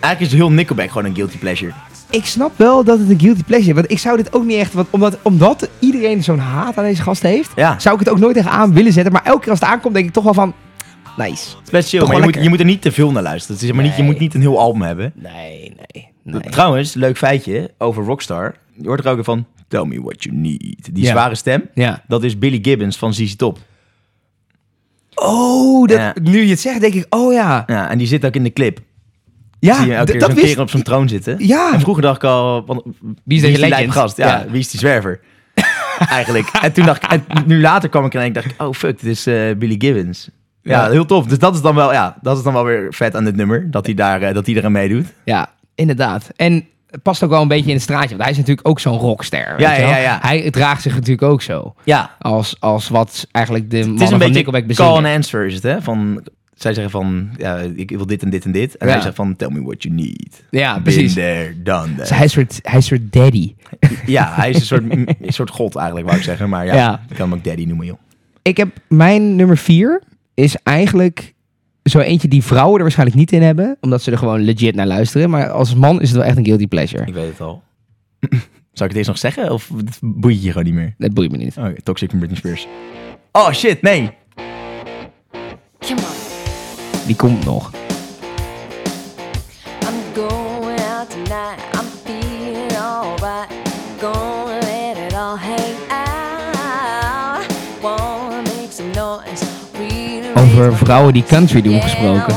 B: Eigenlijk is heel Nickelback gewoon een guilty pleasure.
A: ik snap wel dat het een guilty pleasure is. Want ik zou dit ook niet echt... Want omdat, omdat iedereen zo'n haat aan deze gast heeft...
B: Ja.
A: zou ik het ook nooit tegen aan willen zetten. Maar elke keer als het aankomt, denk ik toch wel van... Nice.
B: Het is best chill,
A: Toch wel
B: maar je moet,
A: lekker.
B: je moet er niet te veel naar luisteren. Het is maar niet, je
A: Nee.
B: moet niet een heel album hebben.
A: Nee, nee, nee.
B: Trouwens, leuk feitje over Rockstar. Je hoort er ook van, tell me what you need. Die
A: Ja.
B: zware stem,
A: Ja.
B: dat is Billy Gibbons van ZZ Top.
A: Oh, dat,
B: Ja.
A: nu je het zegt, denk ik, oh ja.
B: Ja, en die zit ook in de clip. Zie je
A: Ja,
B: elke
A: Ah, d-
B: keer
A: dat
B: zo'n
A: wist
B: kerel op zijn troon zitten.
A: Ja.
B: En vroeger dacht ik al, want,
A: Wie is deze
B: die
A: legend?
B: lijpgast? Ja,
A: Ja.
B: wie is die zwerver? Eigenlijk. En toen dacht ik, en nu later kwam ik en ik dacht ik, oh fuck, dit is eh, Billy Gibbons. Ja,
A: Ja.
B: heel tof. Dus dat is dan wel, ja, dat is dan wel weer vet aan dit nummer, dat hij daar, eh, dat hij eraan meedoet.
A: Ja, inderdaad. En het past ook wel een beetje in het straatje. Want hij is natuurlijk ook zo'n rockster. weet
B: Ja,
A: je wel?
B: ja, ja.
A: Hij draagt zich natuurlijk ook zo.
B: Ja.
A: Als, als wat eigenlijk de
B: Het is
A: mannen
B: een
A: van
B: beetje
A: Nickelback
B: call and
A: bezingen.
B: answer is het, hè? Van, zij zeggen van, ja, ik wil dit en dit en dit. En
A: Ja.
B: hij zegt van, tell me what you need.
A: Ja,
B: Been
A: precies.
B: there, done that.
A: Dus hij, is soort, hij is soort daddy.
B: Ja, hij is een soort, een soort god eigenlijk, wou ik zeggen. Maar ja,
A: Ja.
B: ik kan hem ook daddy noemen, joh.
A: Ik heb mijn nummer vier is eigenlijk zo eentje die vrouwen er waarschijnlijk niet in hebben. Omdat ze er gewoon legit naar luisteren. Maar als man is het wel echt een guilty pleasure.
B: Ik weet het al. Zou ik het eerst nog zeggen? Of het boeit je gewoon niet meer?
A: Dat boeit me niet.
B: Oh, toxic van Britney Spears. Oh shit, nee.
F: Come on.
A: Die komt nog.
F: I'm going out tonight. I'm feeling alright. Gonna
A: over vrouwen die country doen gesproken.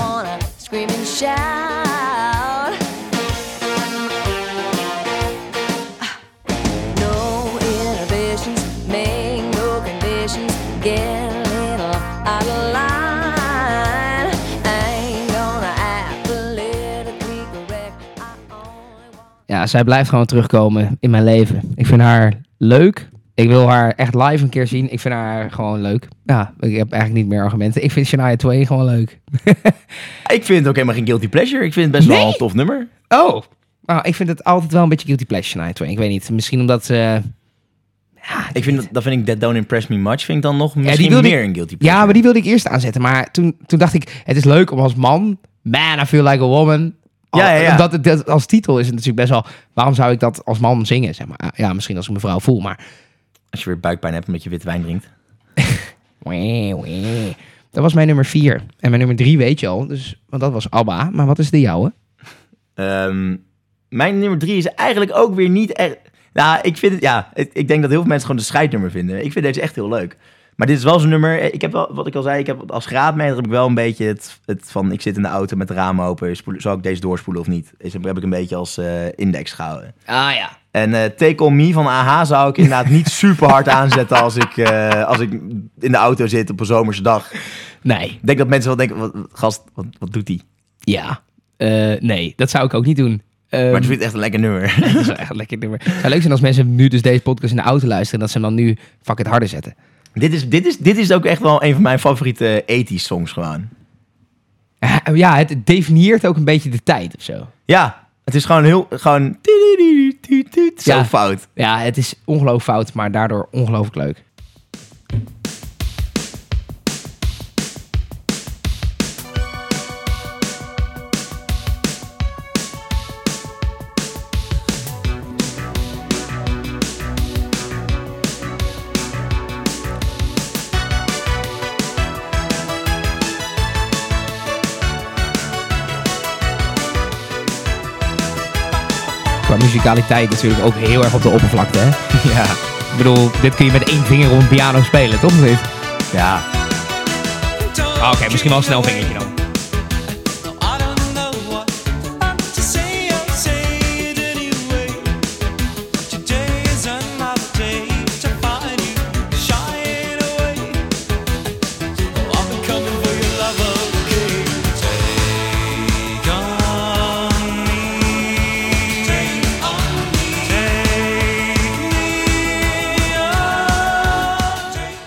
A: Ja, zij blijft gewoon terugkomen in mijn leven. Ik vind haar leuk. Ik wil haar echt live een keer zien. Ik vind haar gewoon leuk. Ja, ik heb eigenlijk niet meer argumenten. Ik vind Shania Twain gewoon leuk.
B: Ik vind het ook helemaal geen guilty pleasure. Ik vind het best wel
A: Nee?
B: een tof nummer.
A: Oh. Nou, ik vind het altijd wel een beetje guilty pleasure, Shania Twain. Ik weet niet. Misschien omdat eh, ze... ja,
B: Ik vind dat, dat vind ik That Don't Impress Me Much vind ik dan nog misschien
A: wilde
B: meer
A: ik-
B: een guilty pleasure.
A: Ja, maar die wilde ik eerst aanzetten. Maar toen, toen dacht ik, het is leuk om als man... Man, I feel like a woman. Al-
B: Ja, ja, ja.
A: Dat, het- dat- als titel is het natuurlijk best wel... Waarom zou ik dat als man zingen? Zeg maar. Ja, misschien als ik me vrouw voel, maar...
B: Als je weer buikpijn hebt omdat je wit wijn drinkt.
A: wee, wee. Dat was mijn nummer vier. En mijn nummer drie weet je al. Dus, want dat was ABBA. Maar wat is de jouwe?
B: Ehm, mijn nummer drie is eigenlijk ook weer niet echt... Nou, ik vind het... Ja, ik, ik denk dat heel veel mensen gewoon de scheidnummer vinden. Ik vind deze echt heel leuk. Maar dit is wel zo'n nummer... eh, Ik heb wel, wat ik al zei, ik heb als graadmeter heb ik wel een beetje het, het van... Ik zit in de auto met de ramen open. Spoel, zal ik deze doorspoelen of niet? Is, heb ik een beetje als eh, index gehouden.
A: Ah ja.
B: En eh, Take On Me van AH zou ik inderdaad niet super hard aanzetten als ik, eh, als ik in de auto zit op een zomerse dag.
A: Nee.
B: Ik denk dat mensen wel denken, wat, wat- gast, wat, wat doet die?
A: Ja. Eh, nee, dat zou ik ook niet doen.
B: Maar
A: Ehm,
B: het vindt echt een lekker nummer.
A: Dat is wel echt een lekker nummer. Het zou leuk zijn als mensen nu dus deze podcast in de auto luisteren... en dat ze hem dan nu fuck het harder zetten.
B: dit, is, dit, is, dit is ook echt wel een van mijn favoriete 80s songs gewoon.
A: Eh, Ja, het definieert ook een beetje de tijd of zo.
B: Ja, het is gewoon heel, gewoon... Zo
A: Ja.
B: fout.
A: Ja, het is ongelooflijk fout, maar daardoor ongelooflijk leuk. Qua muzikaliteit natuurlijk ook heel erg op de oppervlakte, hè? Ja. Ik bedoel, dit kun je met één vinger op een piano spelen, toch? Oké,
B: Ja.
A: Ah, misschien wel een snel vingertje dan.
G: Oh,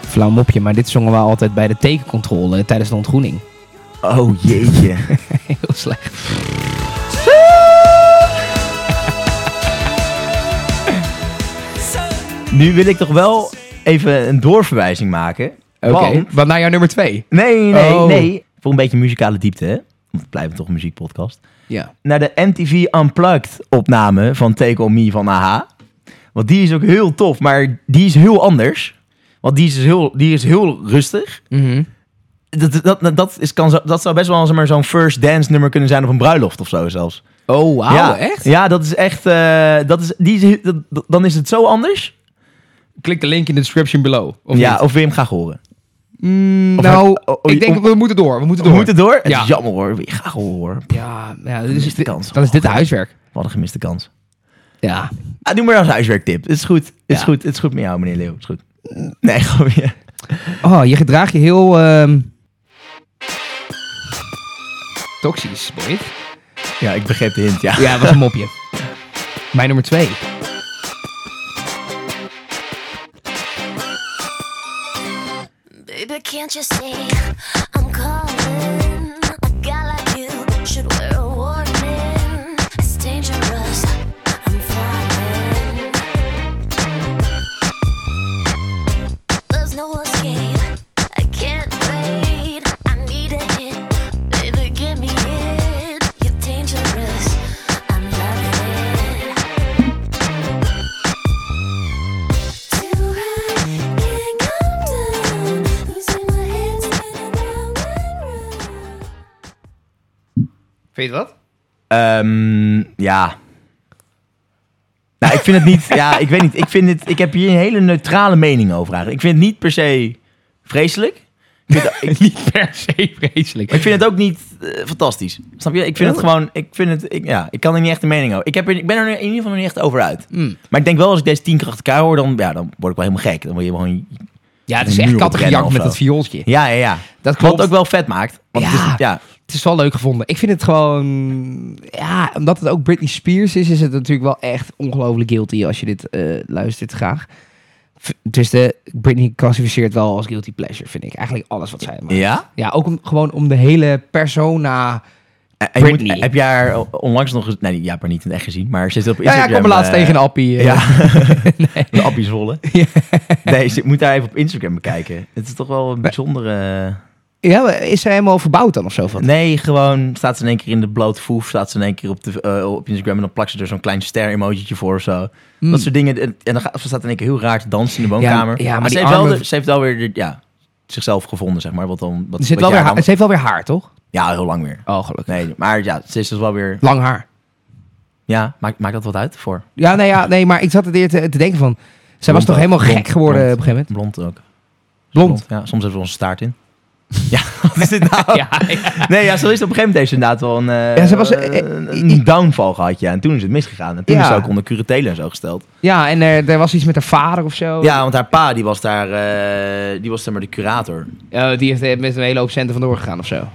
A: Flauw mopje, maar dit zongen we altijd bij de tekencontrole tijdens de ontgroening.
B: Oh jeetje.
A: Heel slecht.
B: nu wil ik toch wel even een doorverwijzing maken.
A: Oké,
B: Want-
A: wat naar jouw nummer twee?
B: Nee, nee,
A: Oh.
B: nee. Voor een beetje muzikale diepte, hè? Want we blijven toch een muziekpodcast.
A: Ja.
B: naar de MTV Unplugged opname van Take On Me van AH. Want die is ook heel tof, maar die is heel anders. Want die is dus heel, die is heel rustig.
A: Mhm.
B: Dat, dat, dat, dat is, kan, zo- dat zou best wel zeg maar, zo'n first dance nummer kunnen zijn op een bruiloft of zo zelfs.
A: Oh, wauw,
B: ja,
A: echt?
B: Ja, dat is echt... eh, dat is, die is, heel- dat- dat- dan is het zo anders.
A: Klik de link in de description below. Of
B: ja,
A: niet?
B: of wil je hem graag horen?
A: Mm,
B: of-
A: nou,
B: oh, oh,
A: ik denk,
B: om-
A: we moeten door. We moeten
B: We
A: door.
B: moeten door. Het
A: Ja.
B: is jammer hoor. Wil je graag horen hoor.
A: Ja, ja dit is,
B: Gemiste
A: dit,
B: kans.
A: dan is dit huiswerk.
B: Wat een gemiste kans.
A: Ja.
B: Ah, doe maar als huiswerktip. Het is goed. Het is
A: Ja.
B: goed. Het is goed met jou, meneer Leeuw. Het is goed. Nee, gewoon ja.
A: Oh, je gedraagt je heel... ehm, Toxisch, boy.
B: Ja, ik begreep de hint, ja.
A: Ja, het was een mopje. Mijn nummer twee.
D: Baby, can't you see I'm calling? A guy like you should wear a warning. It's dangerous. I'm falling. There's no escape. I can't wait. I need a hit. Baby, give me it. You're dangerous. I'm loving it.
A: Vind je wat?
B: Ehm, ja. Nou, ik vind het niet... Ja, ik weet niet. Ik, vind het, ik heb hier een hele neutrale mening over eigenlijk. Ik vind het niet per se vreselijk. vind dat- ik,
A: Niet per se vreselijk.
B: maar ik vind het ook niet eh, fantastisch. Snap je? Ik vind
A: Oh.
B: het gewoon... Ik, vind het, ik, ja, ik kan er niet echt een mening over. Ik, heb er, ik ben er in ieder geval nog niet echt over uit.
A: Mm.
B: Maar ik denk wel, als ik deze tien keer achter elkaar hoor, dan, ja, dan word ik wel helemaal gek. Dan word je gewoon...
A: ja, het is
B: een
A: echt
B: muur op rennen
A: kattengejank
B: of
A: met
B: zo.
A: dat viooltje.
B: Ja, ja, ja.
A: Dat
B: Wat
A: klopt.
B: ook wel vet maakt. Want ja. Het
A: Ja.
B: is, ja,
A: Het is wel leuk gevonden. Ik vind het gewoon... Ja, omdat het ook Britney Spears is, is het natuurlijk wel echt ongelooflijk guilty als je dit eh, luistert graag. V- Dus de Britney klassificeert wel als guilty pleasure, vind ik. Eigenlijk alles wat zij maakt.
B: ja?
A: Ja, ook om, gewoon om de hele persona.
B: En- en Eh, je moet-
A: Britney.
B: heb jij haar onlangs nog... eens- Nee, jij hebt haar niet in het echt gezien, maar ze zit op
A: Ja, Nou ja,
B: Instagram.
A: ik kwam laatst
B: eh,
A: tegen een appie. eh.
B: Ja. De appie zwollen. Nee, ze moet daar even op Instagram bekijken. Het is toch wel een bijzondere... eh,
A: Ja, maar is zij helemaal verbouwd dan of zo? Van?
B: Nee, gewoon staat ze in één keer in de blote voef. Staat ze in één keer op, de, eh, op Instagram en dan plakt ze er zo'n klein ster-emojietje voor of zo. Dat soort dingen. En en dan gaat, ze staat in één keer heel raar te dansen in de woonkamer.
A: Hmm. ja, maar
B: ze,
A: die
B: heeft wel
A: armen-
B: de- ze heeft wel weer de- ja, zichzelf gevonden, zeg maar. Wat dan, wat,
A: Ze heeft,
B: wat
A: wel weer
B: jij
A: haar,
B: dan-
A: ze heeft wel weer haar, toch?
B: Ja, heel lang weer.
A: Oh, gelukkig.
B: Nee, maar ja, ze is dus wel weer...
A: Lang haar.
B: Ja, maakt, maakt dat wat uit voor?
A: Ja nee, ja, nee, maar ik zat het eerder te, te denken van... Zij was
B: Blond
A: toch
B: ook.
A: helemaal
B: Blond,
A: gek geworden
B: blond,
A: op een gegeven moment?
B: Blond ook.
A: Blond.
B: Ja, soms hebben we onze staart in. ja, wat is dit nou?
A: Ja, ja.
B: Nee, ja, zo is het op een gegeven moment heeft ze inderdaad wel een, eh,
A: Ja, ze was,
B: eh,
A: eh,
B: een downfall gehad. Ja. En toen is het misgegaan. En toen
A: Ja.
B: is ze ook onder curatelen en zo gesteld.
A: ja, en eh, er, er was iets met haar vader of zo.
B: Ja, want haar pa, die was daar, eh, die was zeg maar de curator.
A: Eh, die heeft eh, met een hele hoop centen vandoor gegaan of zo.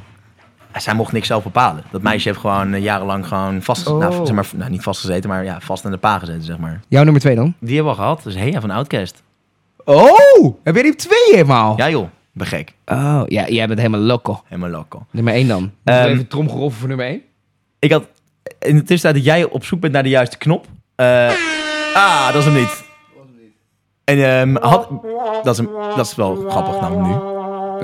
B: Zij mocht niks zelf bepalen. Dat meisje heeft gewoon eh, jarenlang gewoon vast,
A: Oh.
B: nou, zeg maar, nou, niet vastgezeten, maar ja, vast aan de pa gezeten, zeg maar.
A: Jouw nummer twee dan?
B: Die hebben we al gehad. Dus Hea van Outcast.
A: Oh, heb jij die op twee helemaal?
B: Ja joh, ik ben gek.
A: Oh, ja, jij bent helemaal loco.
B: Helemaal loco.
A: Nummer één dan.
B: Ehm,
A: Even tromgeroffel voor nummer één.
B: Ik had in de tussentijd dat jij op zoek bent naar de juiste knop. Eh, ah, dat is hem niet. En ehm, had, dat, is hem, dat is wel grappig namelijk nu.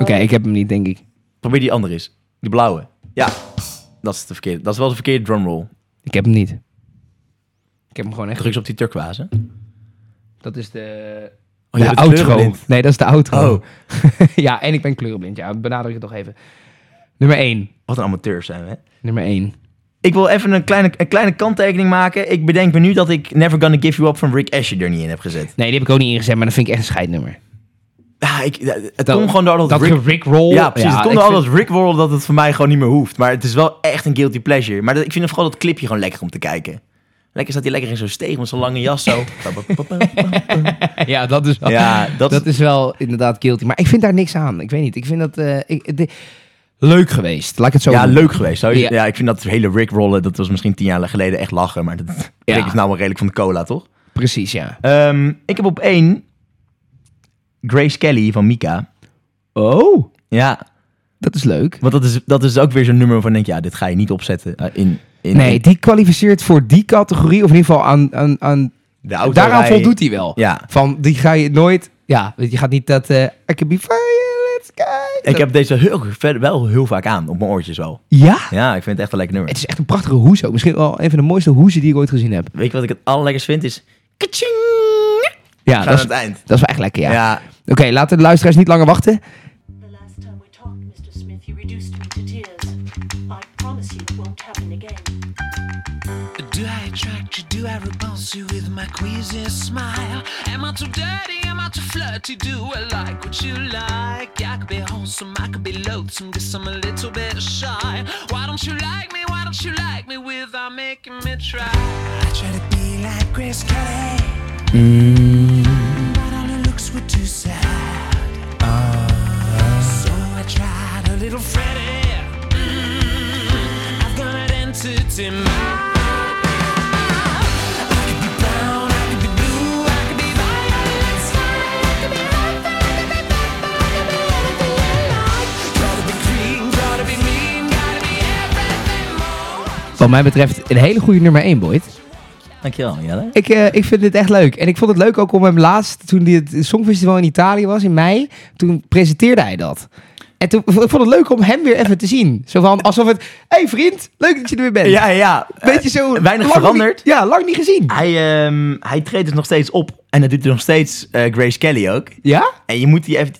A: Oké, ik heb hem niet, denk ik.
B: Probeer die andere eens. Die blauwe. Ja, dat is, de verkeerde, dat is wel de verkeerde drumroll.
A: Ik heb hem niet. Ik heb hem gewoon echt...
B: Druk eens op die turquoise.
A: Dat is de...
B: Oh, jij
A: de
B: bent
A: outro.
B: kleurenblind.
A: Nee, dat is de outro.
B: Oh.
A: ja, en ik ben kleurenblind. Ja, benadruk het nog even. Nummer 1.
B: Wat een amateur zijn we. hè?
A: Nummer 1.
B: Ik wil even een kleine, een kleine kanttekening maken. Ik bedenk me nu dat ik Never Gonna Give You Up van Rick Asher er niet in heb gezet.
A: Nee, die heb ik ook niet ingezet, maar dat vind ik echt een scheidnummer.
B: Ah, ik, het komt gewoon door dat,
A: dat
B: Rick...
A: Rick Roll.
B: Ja, precies. het komt
A: ik
B: door al
A: vind-
B: dat Rick Roll dat het voor mij gewoon niet meer hoeft. Maar het is wel echt een guilty pleasure. Maar dat, ik vind het vooral dat clipje gewoon lekker om te kijken. Lekker staat hij lekker in zo'n steeg met zo'n lange jas zo.
A: ja, dat is wel,
B: Ja, dat
A: dat,
B: is-
A: is wel inderdaad guilty. Maar ik vind daar niks aan. Ik weet niet. Ik vind dat eh, ik, de- leuk geweest. Laat ik het zo
B: ja,
A: noemen.
B: leuk geweest. Zou je- Ja.
A: Ja.
B: ik vind dat hele Rick Rollen, dat was misschien tien jaar geleden echt lachen. Maar dat
A: Ja.
B: Rick is nou wel redelijk van de cola, toch?
A: Precies, ja.
B: Ehm, ik heb op één Grace Kelly van Mika.
A: Oh,
B: Ja,
A: dat is leuk.
B: want dat is, dat is ook weer zo'n nummer waarvan ik denk, ja, dit ga je niet opzetten eh, in, in,
A: Nee,
B: in
A: die kwalificeert voor die categorie, of in ieder geval aan, aan, aan
B: de auto.
A: Daaraan voldoet hij wel.
B: Ja.
A: Van, die ga je nooit... Ja, je gaat niet dat... eh I can be fire, let's go.
B: Ik heb deze heel, verder wel heel vaak aan, op mijn oortjes wel.
A: Ja?
B: Ja, ik vind het echt een lekker nummer.
A: Het is echt een prachtige hoes ook. Misschien wel een van de mooiste hoezen die ik ooit gezien heb.
B: Weet je wat ik het allerlekkers vind? Is... Kaching!
A: Ja,
B: aan
A: dat is,
B: het eind.
A: dat is wel echt lekker, ja.
B: Ja.
A: Oké, laten de luisteraars niet langer wachten.
J: The last time we talked, Mr. Smith, you reduced me to tears. I promise you it won't happen again.
E: Do I attract you? Do I repulse you with my queasy smile? Am I too dirty? Am I too flirty? Do I like what you like? I could be wholesome, I could be loathsome, guess I'm a little bit shy. Why don't you like me? Why don't you like me without making me try? I try to be like Grace Kelly, but all her looks were too sad. So I tried a little Freddy. Mm, I've got an entity mind.
A: Wat mij betreft een hele goede nummer 1, Boyd.
B: Dankjewel, Jelle.
A: Ik, eh, ik vind dit echt leuk. En ik vond het leuk ook om hem laatst, toen die het Songfestival in Italië was, in mei, toen presenteerde hij dat. En toen ik vond het leuk om hem weer even te zien. Zo van, alsof het... Hé hey vriend, leuk dat je er weer bent.
B: Ja, ja. Eh,
A: Beetje zo...
B: Weinig
A: lang
B: veranderd.
A: niet- ja, lang niet gezien.
B: Hij, ehm, hij treedt dus nog steeds op. En dat doet hij nog steeds eh, Grace Kelly ook.
A: Ja?
B: En je moet die even...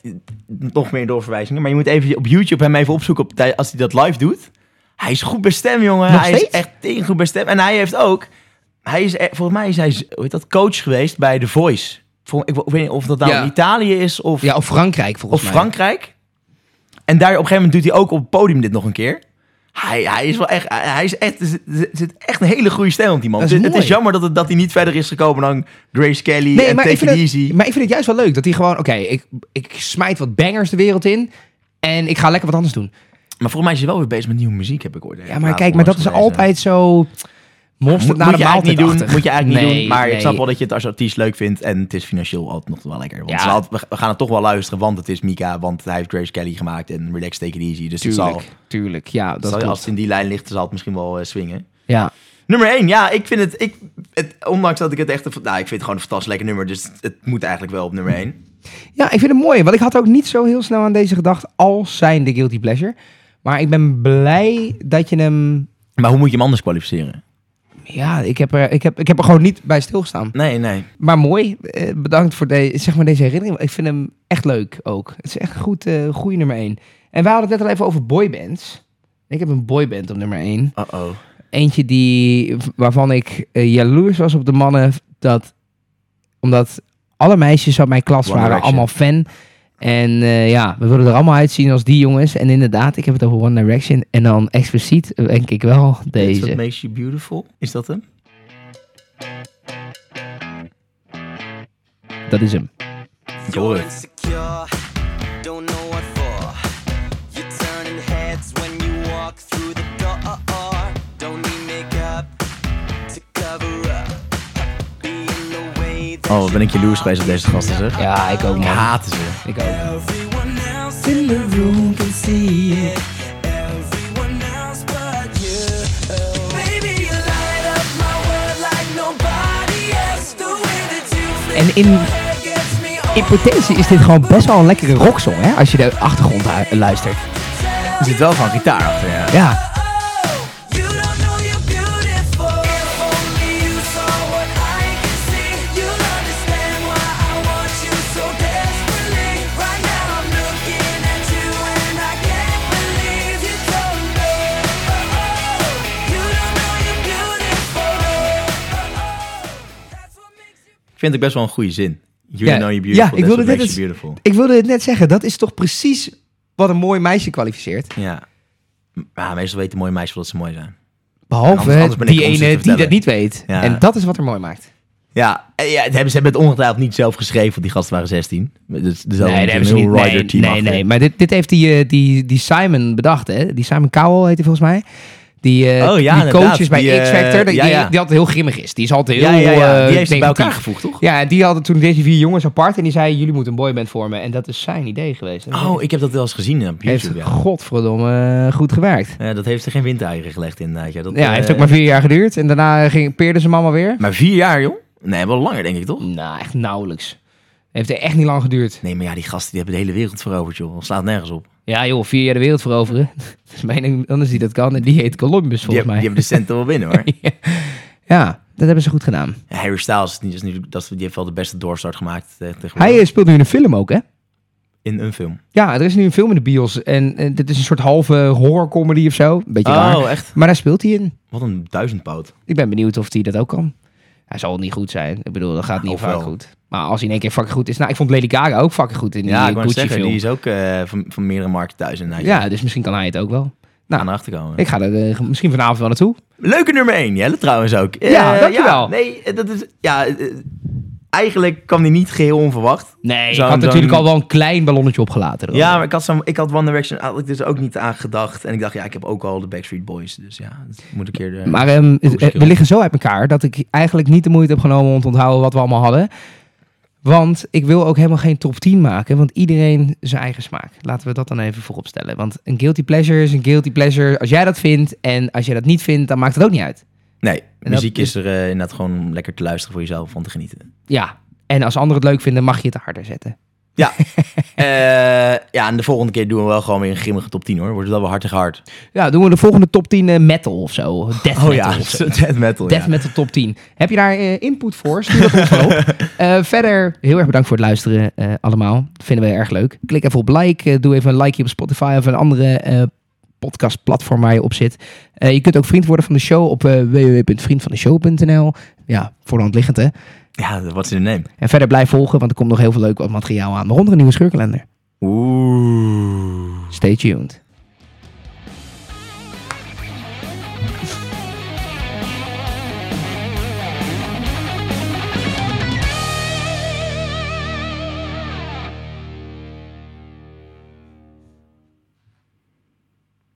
B: Nog meer doorverwijzingen. Maar je moet even op YouTube hem even opzoeken op, tij- als hij dat live doet. Hij is goed bij stem, jongen.
A: Nog
B: hij is
A: steeds?
B: echt tegen goed bij stem. En hij heeft ook... Hij is, e- volgens mij is hij hoe heet dat, coach geweest bij The Voice. Vol- ik weet niet of dat nou
A: Ja.
B: in Italië is of...
A: Ja, of Frankrijk volgens
B: Of
A: mij.
B: Frankrijk. En daar op een gegeven moment doet hij ook op het podium dit nog een keer. Hij, hij is wel echt, hij hij is echt, er zit- er zit echt een hele goede stijl op die man.
A: Dat is
B: het, het
A: mooi.
B: is jammer dat, het, dat hij niet verder is gekomen dan Grace Kelly en Take
A: ik
B: It
A: vind het,
B: Easy.
A: maar ik vind het juist wel leuk dat hij gewoon, oké, ik, ik smijt wat bangers de wereld in en ik ga lekker wat anders doen.
B: Maar volgens mij is hij wel weer bezig met nieuwe muziek, heb ik ooit.
A: Ja, maar kijk, maar dat is altijd zo
B: Moet,
A: monster
B: moet
A: naar
B: je
A: de
B: eigenlijk niet
A: maaltijd
B: doen, moet je eigenlijk niet doen. Maar
A: ik
B: ik snap wel dat je het als artiest leuk vindt. En het is financieel altijd nog wel lekker. Want
A: Ja.
B: het is altijd- we- we gaan het toch wel luisteren, want het is Mika. Want hij heeft Grace Kelly gemaakt en Relax Take It Easy. Dus het zal,
A: Tuurlijk, tuurlijk. Ja, dat
B: zal-
A: klopt.
B: als het in die lijn ligt, zal het misschien wel eh, swingen.
A: Ja.
B: Nummer 1, ja, ik vind het, ik, het... Ondanks dat ik het echt... een fa- Nou, ik vind het gewoon een fantastisch lekker nummer. Dus het, het moet eigenlijk wel op nummer 1.
A: ja, ik vind het mooi, want ik had ook niet zo heel snel aan deze gedacht als zijn de Guilty Pleasure. Maar ik ben blij dat je hem...
B: Maar hoe moet je hem anders kwalificeren?
A: Ja, ik heb er, ik heb, ik heb er gewoon niet bij stilgestaan.
B: Nee, nee.
A: Maar mooi, eh, bedankt voor de, zeg maar deze herinnering. Ik vind hem echt leuk ook. Het is echt een goed, eh goede nummer 1. En we hadden het net al even over boybands. Ik heb een boyband op nummer 1.
B: Uh-oh.
A: Eentje die, waarvan ik eh, jaloers was op de mannen. Dat, omdat alle meisjes uit mijn klas
B: One
A: waren
B: Direction.
A: allemaal fan. En eh, ja, we wilden er allemaal uitzien als die jongens. En inderdaad, ik heb het over One Direction. En dan expliciet eh, denk ik wel
B: That's what
A: deze.
B: makes you beautiful. Is dat hem?
A: Dat is hem.
B: Ik hoor het.
I: insecure, don't know what for. You're turning heads when you walk through the door. Don't need makeup to cover up. Be in the way that
B: Oh, ben ik jaloers geweest op deze gasten, zeg.
A: Ja, ik ook man.
B: Ik haat ze.
A: Ik ook.
I: everyone else in the room can see it. Everyone else but you. Baby, you light up my world like nobody else. The way that you flip
A: En in,
I: your hair gets me
A: in potentie is dit gewoon best wel een lekkere rocksong, hè? Als je de achtergrond hu- luistert.
B: Er zit wel gewoon gitaar achter, ja.
A: Ja.
B: Ik vind het best wel een goede zin. You
A: Ja,
B: know you're beautiful,
A: ja, ik
B: that's
A: wilde dit
B: what makes you
A: eens-
B: beautiful.
A: Ik wilde het net zeggen, dat is toch precies wat een mooi meisje kwalificeert.
B: Ja. Maar meestal weten mooie meisjes wel dat ze mooi zijn.
A: Behalve
B: Anders- anders ben ik
A: die
B: ons het te
A: ene die
B: vertellen.
A: dat niet weet.
B: Ja.
A: En dat is wat er mooi maakt.
B: Ja, en ja het hebben, ze hebben het ongetwijfeld niet zelf geschreven, want die gasten waren 16. Dus, dus dat
A: Nee,
B: is
A: daar
B: een
A: hebben ze
B: heel
A: niet.
B: Rider
A: Nee,
B: team
A: nee,
B: achter.
A: nee. Maar dit, dit heeft die, eh, die, die Simon bedacht, hè? Die Simon Cowell heette volgens mij. Die, eh,
B: Oh, ja,
A: die
B: inderdaad.
A: coach is bij
B: Die, eh,
A: X Factor. Die,
B: ja,
A: die-
B: ja.
A: die altijd heel grimmig is. Die is altijd heel.
B: Ja, ja, ja.
A: eh,
B: Die heeft ze bij elkaar
A: negatief.
B: gevoegd, toch?
A: Ja, en die hadden toen deze vier jongens apart. En die zei: Jullie moeten een boyband vormen. En dat is zijn idee geweest. Dat
B: Oh, ik heb dat wel eens gezien op
A: heeft
B: YouTube, ja.
A: godverdomme eh, goed gewerkt.
B: Ja, dat heeft er geen windeieren gelegd inderdaad. Ja, dat,
A: Ja,
B: eh,
A: heeft ook maar vier jaar geduurd. En daarna ging, peerde ze hem allemaal weer.
B: maar vier jaar, joh? Nee, wel langer, denk ik, toch?
A: Nou, echt nauwelijks. Heeft echt niet lang geduurd.
B: Nee, maar ja, die gasten die hebben de hele wereld veroverd, joh. Dat slaat nergens op.
A: Ja joh, vier jaar de wereld veroveren. Dat is mijn enige anders die dat kan. En die heet Columbus
B: Die,
A: volgens
B: hebben-
A: mij.
B: die hebben de centen wel binnen, hoor.
A: Ja, dat hebben ze goed gedaan.
B: Harry Styles, is niet, is niet, dat, is- die heeft wel de beste doorstart gemaakt eh, tegenwoordig.
A: Hij eh, speelt nu in een film ook, hè?
B: In een film.
A: Ja, er is nu een film in de bios. En, eh, dit is een soort halve horrorcomedy of zo. Beetje raar.
B: Oh, echt?
A: Maar daar speelt hij in.
B: Wat een duizendpoot.
A: Ik ben benieuwd of hij dat ook kan. Hij zal niet goed zijn. Ik bedoel, dat gaat niet
B: Of
A: vaak
B: wel.
A: goed. Maar als hij in één keer fucking goed is. Nou, ik vond Lady Gaga ook fucking goed in die
B: Ja,
A: eh,
B: ik wou net zeggen,
A: Gucci-film.
B: die is ook eh, van, van meerdere markten thuis. En ja,
A: Ja, dus misschien kan hij het ook wel.
B: aan
A: Nou,
B: erachter komen.
A: ik ga er eh, misschien vanavond wel naartoe.
B: Leuke nummer 1, Jelle trouwens ook. Eh,
A: Ja, dankjewel.
B: nee, eh, dat is... Ja, eh, eigenlijk kwam die niet geheel onverwacht.
A: Nee,
B: Zo'n-
A: ik had
B: zo'n-
A: natuurlijk al wel een klein ballonnetje opgelaten. erover.
B: Ja, maar ik had, zo'n- ik had One Direction eigenlijk dus ook niet aan gedacht. En ik dacht, ja, ik heb ook al de Backstreet Boys. Dus ja, dat moet ik keer... De...
A: Maar ehm, het- eh,
B: verschil.
A: we liggen zo uit elkaar dat ik eigenlijk niet de moeite heb genomen om te onthouden wat we allemaal hadden. Want ik wil ook helemaal geen top 10 maken, want iedereen zijn eigen smaak. Laten we dat dan even voorop stellen. Want een guilty pleasure is een guilty pleasure als jij dat vindt. En als jij dat niet vindt, dan maakt het ook niet uit.
B: nee,
A: dat
B: muziek
A: is-
B: is er eh, inderdaad gewoon om lekker te luisteren voor jezelf, van te genieten.
A: Ja, en als anderen het leuk vinden, mag je het harder zetten.
B: Ja. Eh, ja, en de volgende keer doen we wel gewoon weer een grimmige top 10, hoor. Wordt het wel weer hartig hard.
A: Ja, doen we de volgende top 10 eh, metal of zo. Death metal
B: Oh ja,
A: of zo.
B: death metal,
A: Death
B: Oh, ja.
A: Metal Top 10. Heb je daar eh, input voor? Stuur dat ons dan op. Eh, verder, heel erg bedankt voor het luisteren eh, allemaal. Dat vinden we erg leuk. Klik even op like. eh, doe even een likeje op Spotify of een andere eh podcastplatform waar je op zit. Eh, je kunt ook vriend worden van de show op eh, www.vriendvandeshow.nl. Ja, voor de hand liggend hè.
B: Ja, wat is de name?
A: En verder blijf volgen, want er komt nog heel veel leuk wat materiaal aan. Waaronder een nieuwe scheurkalender.
B: Oeh.
A: Stay tuned.